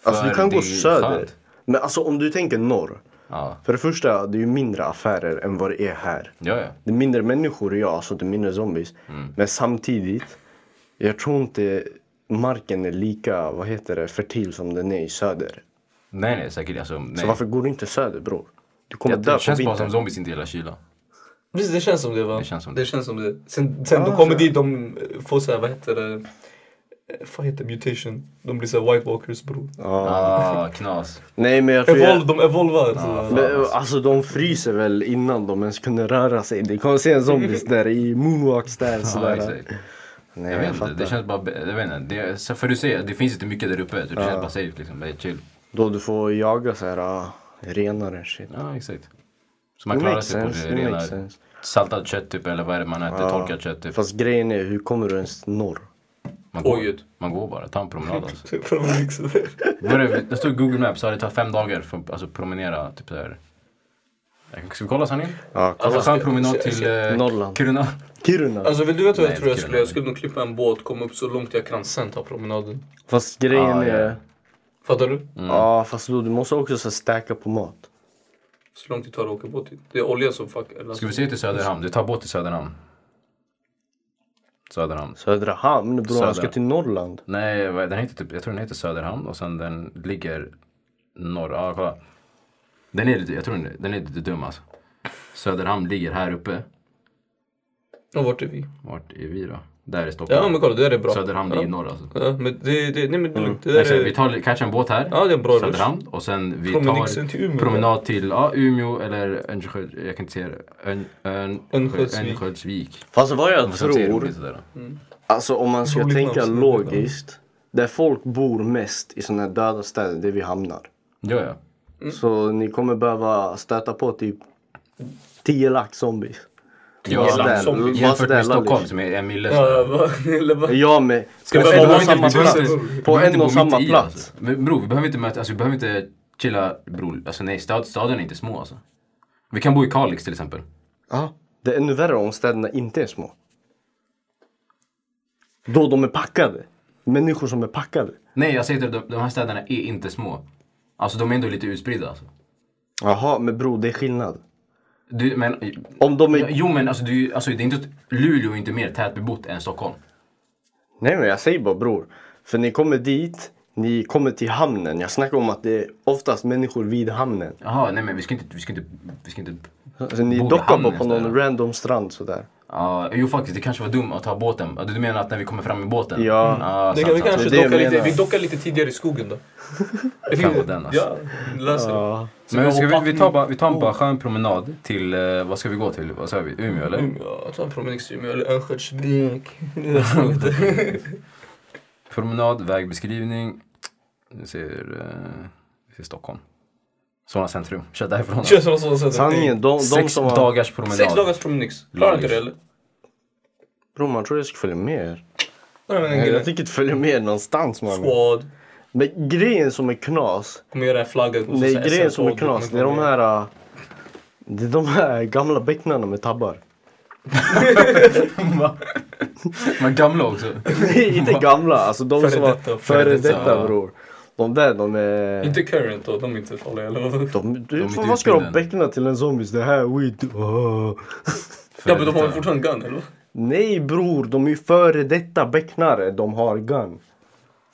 S2: Alltså du
S1: För
S2: kan
S1: det är
S2: gå
S1: ju
S2: söder.
S1: skönt.
S2: Men alltså om du tänker norr.
S1: Ja,
S2: För det första, det är ju mindre affärer än vad det är här.
S1: ja. ja.
S2: Det är mindre människor, ja, alltså det är mindre zombies.
S1: Mm.
S2: Men samtidigt, jag tror inte marken är lika, vad heter det, fertil som den är i söder.
S1: Nej, nej, säkert. Alltså, nej.
S2: Så varför går du inte söder bror? Du kommer
S1: jag,
S2: dö
S1: det
S2: på
S1: känns bara som
S2: vintern.
S1: zombies inte gillar kyla.
S3: Visst det känns som det va?
S1: Det känns som det.
S3: känns som det. Sen, sen
S2: Ja,
S3: de kommer
S2: Ah, så-
S3: dit, de får såhär, vad heter det? Eh, Vad heter mutation? De blir såhär white walkers bror.
S2: Ja.
S1: Ah,
S2: <laughs>
S1: knas.
S2: Nej men jag tror
S3: Evol-
S2: jag...
S3: de evolvar.
S1: Ja.
S3: så.
S2: Men, alltså de fryser väl innan de ens kunde röra sig. Det kommer se en zombies där i moonwalk stance.
S1: Ja,
S2: där.
S1: exakt. Jag
S2: Nej jag,
S1: vet inte, det
S2: fattar.
S1: känns bara, jag vet inte, det, så för du säger, det finns inte mycket där uppe, så det känns bara safe liksom, det är chill.
S2: Då du får jaga så här, ah, renare shit.
S1: Ja, exakt. Så man
S2: Det
S1: klarar
S2: makes
S1: sig på
S2: sense,
S1: det
S2: det
S1: rena,
S2: makes sense.
S1: saltat kött typ, eller vad är det man äter,
S2: Ja.
S1: torkat kött typ.
S2: Fast grejen är, hur kommer du ens norr?
S1: Man
S3: Oj, ut.
S1: går, man går bara, ta en promenad alltså.
S3: Så jag får väl liksom-
S1: Var det, det stod i Google Maps, så det tar fem dagar för att alltså, promenera typ såhär Ska vi kolla sanningen?
S2: Ja, kolla.
S1: Alltså,
S3: Alltså,
S1: skön promenad
S3: ska-
S1: till eh,
S2: Norrland.
S1: Kiruna.
S2: Kiruna.
S3: Alltså vill du veta
S1: Nej,
S3: vad jag tror jag
S1: det
S3: skulle
S1: är
S3: göra? Jag skulle nog klippa en båt, komma upp så långt jag kan, sen ta promenaden.
S2: Fast grejen
S1: Ah, ja.
S2: är...
S3: Fattar du?
S2: Ja, fast då, du måste också så här stacka på mat.
S3: Så långt det tar att åka båt dit. Det är olja som fuck... Eller,
S1: Ska vi se till Söderhamn? Du tar båt till Söderhamn. Söderhamn.
S2: Södra hamn bror, han ska
S1: Södra.
S2: till Norrland.
S1: Nej, vad- den heter typ, jag tror den heter Söderhamn och sen den ligger norr. Ja, kolla. Den är lite, jag tror den, den är lite dum alltså. Söderhamn ligger här uppe.
S3: Och vart är vi?
S1: Vart är vi då? Där är Stockholm.
S3: Ja men kolla, det där är bra.
S1: Söderhamn
S3: ja.
S1: ligger norr alltså.
S3: Ja, men det, det, nej
S2: Mm.
S3: men det är lugnt. Det
S1: Nej,
S3: där
S1: så vi
S3: är...
S1: tar kanske en båt här.
S3: Ja, det är en bra rush.
S1: Söderhamn. Och sen vi
S3: Promenad sen
S1: tar
S3: till Umeå.
S1: promenad till ja, Umeå eller Örnskölds... Jag kan inte säga det. Örn- Örn-
S3: Örnsköldsvik.
S1: Örnsköldsvik.
S2: Fast vad jag
S1: Och sen ser det
S2: tror,
S1: roligt sådär.
S2: alltså om man ska
S3: Roligt
S2: tänka
S3: namn.
S2: logiskt. Där folk bor mest i sådana här döda städer, det är vid hamnar.
S1: Ja, ja.
S2: Så ni kommer behöva stöta på typ 10 lax zombies.
S1: Ja,
S2: Just
S1: lax
S2: där.
S3: zombie.
S2: Just
S1: Jämfört
S2: där,
S1: med Stockholm liksom.
S2: Lallish.
S1: som är en mille.
S3: Ja, vad- <laughs> eller vad?
S2: Ja men
S3: Ska
S2: på
S3: vi
S2: en
S3: bara
S2: och
S3: vara
S2: samma
S3: mitt i
S2: plats.
S3: varandra?
S2: På en och samma plats.
S1: alltså. Men bror, vi behöver inte möta... Alltså vi behöver inte chilla... Bror, alltså nej, stad, staden är inte små alltså. Vi kan bo i Kalix till exempel.
S2: Ja. Det är ännu värre om städerna inte är små. Då de är packade. Människor som är packade.
S1: Nej, jag säger till dig, de, de här städerna är inte små. Alltså de är ändå lite utspridda alltså.
S2: Jaha, men bro det är skillnad.
S1: Du, men
S2: Om de
S1: Ja,
S2: är...
S1: Jo men alltså, du, alltså det är inte, Luleå är inte mer tätbebott än Stockholm.
S2: Nej men jag säger bara bror. För ni kommer dit, ni kommer till hamnen. Jag snackar om att det är oftast människor vid hamnen.
S1: Jaha, nej men vi ska inte, vi ska inte, vi ska inte...
S2: Alltså, ni
S1: Bor vid
S2: dockar bara
S1: hamnen
S2: på någon
S1: istället.
S2: random strand sådär.
S1: Ja, jo faktiskt, det kanske var dumt att ta båten. Ja, Du menar att när vi kommer fram med båten?
S2: Ja.
S1: Mm. ja
S3: Det
S1: sant,
S3: kan vi
S1: sant.
S3: kanske
S2: alltså, Det är det jag
S3: docka lite,
S2: menar.
S3: vi dockar lite tidigare i
S2: <laughs>
S3: skogen då. Det
S1: Fan, vad den, alltså.
S3: Ja, löser det.
S2: Ja.
S1: Men ska vi, vi tar bara, vi tar bara skön promenad till, eh, vad ska vi gå till? Vad sa vi? Umeå eller?
S3: Ja, ta en promenad till Umeå eller Örnsköldsvik. <laughs>
S1: Promenad, vägbeskrivning. Nu ser, eh, vi ser Stockholm. Solna centrum. Kör därifrån.
S3: Kör som så sätt.
S2: Sanningen, de, de
S1: Sex
S2: som har...
S1: dagars promenad.
S3: Sex dagars promenix. Klarar inte det eller?
S2: Bror man tror jag ska följa med er.
S3: Ja, men en
S2: Jag
S3: grej.
S2: tänker inte följa med er någonstans man.
S3: Squad.
S2: Men grejen som är knas.
S3: Kommer göra en flagga. och så
S2: Nej,
S3: så här
S2: grejen som är
S3: SL-kod,
S2: knas, det
S3: kommer
S2: är de
S3: komma
S2: här... äh, Det är de här gamla becknarna med tabbar. <laughs>
S1: Men gamla <laughs> också.
S2: Nej, inte gamla, alltså de
S3: Före
S2: som var
S3: detta, före
S2: före
S1: detta,
S2: detta
S1: ja.
S2: bror. De där, de är...
S3: in. Inte current då, de är inte farliga eller vad?
S2: De, du,
S1: är
S2: fan,
S1: inte
S2: vad ska de
S1: utbildade.
S2: beckna till en zombies? Det här är weed. Åh.
S3: Ja men de har väl fortfarande gun eller? vad?
S2: <laughs> Nej bror, de är ju före detta becknare. De har gun.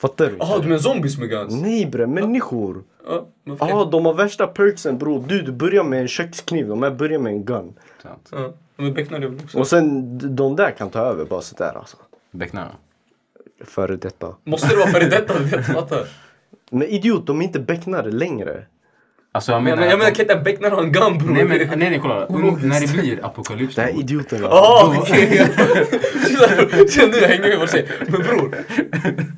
S2: Fattar du?
S3: Jaha du menar zombies med guns?
S2: Nej bre, människor.
S3: Ja, men okej.
S2: Ja, de har värsta perksen bror. Du, du börjar med en kökskniv, de här börjar med en gun.
S1: Sant.
S3: Ja, men becknar det väl också?
S2: Och sen, d- de där kan ta över bara sådär alltså.
S1: Becknarna.
S2: Före detta.
S3: Måste det vara före detta? Du vet, fattar.
S2: Men idiot, de är inte becknare längre.
S1: Alltså jag
S3: Jag
S1: menar...
S3: menar, jag menar kan inte en becknare ha en gun bror?
S1: Nej men nej, nej kolla, Un- när det blir apokalyps
S2: Det här
S1: bror.
S2: är idioterna.
S3: Jaha okej! <laughs> Känner du jag hänger med vad du säger? Men bror,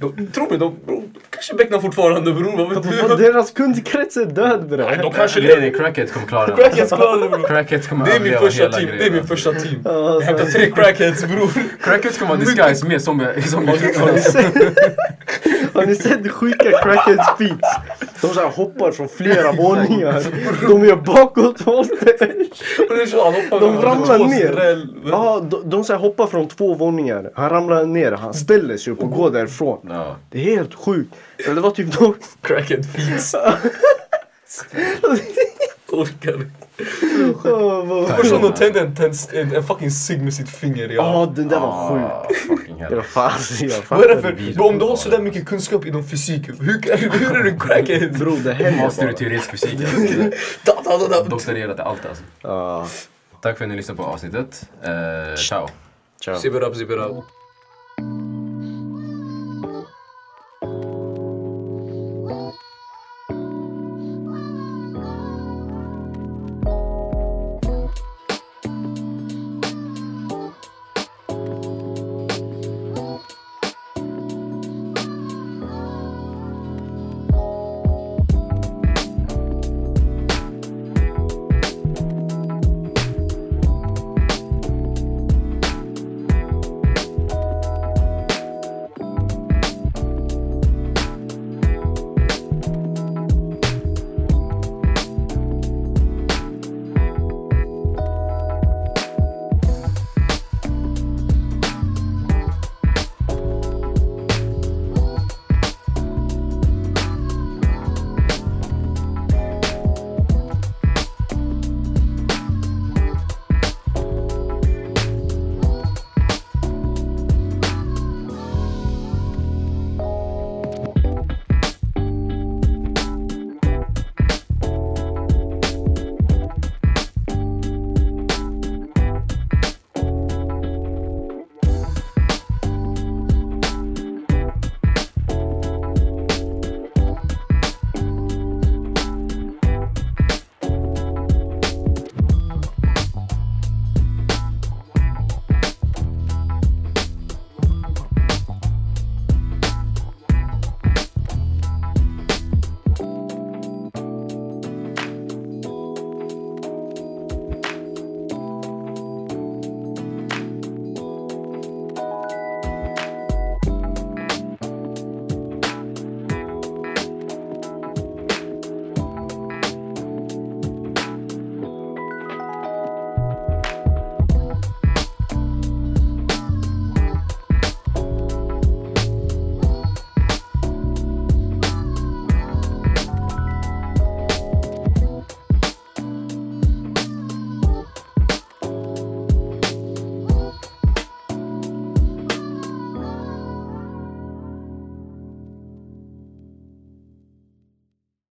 S3: de, tror mig, de bror, de kanske becknar fortfarande bror, vad vet
S2: Vad,
S3: <laughs> du?
S2: Deras kundkrets är död bre.
S3: De kanske
S1: Nej
S3: lever.
S1: nej, crackheads kommer
S3: <laughs>
S1: klara det.
S3: Crackheads klarar det bror.
S1: Crackheads kommer
S3: Det är min
S1: överleva
S3: första
S1: hela
S3: team,
S1: grejen.
S3: det är min
S1: alltså.
S3: första team. Jag hämtar tre crackheads bror. <laughs>
S1: Crackheads kommer ha disguise med zombie... zombie-
S2: Har ni sett, <laughs> har ni sett sjuka crackheads feet? De så här hoppar från <laughs> flera våningar. De gör bakåtvolter.
S3: Och det är så, han hoppar
S2: De
S3: över
S2: ramlar
S3: två
S2: ner.
S3: skräll.
S2: Ja, de, de så här hoppar från två våningar. Han ramlar ner, han ställer sig upp och går därifrån.
S1: Ja.
S2: Det är helt sjukt. Eller det var typ de... <laughs>
S3: Crackhead fees. Orkar inte.
S2: Åh, vad-
S3: Först hon tände en, tänd- en, en fucking cigg med sitt finger i
S2: Ja,
S3: örat.
S2: den där var sjuk.
S1: Ah, fucking hell.
S2: Jag fattar, jag
S3: Vad är det
S2: fattar.
S3: för, om du har sådär mycket kunskap inom fysik, hur, kan- hur är du crackhead?
S2: Bro, det händer
S1: Master i
S2: bara.
S1: teoretisk fysik. alltså.
S3: <laughs> Da, da, da, da.
S1: Doktorerat i allt alltså.
S2: Ja,
S1: Tack för att ni lyssnade på avsnittet. Eh, ciao.
S2: ciao.
S3: Zip it up, zip it up.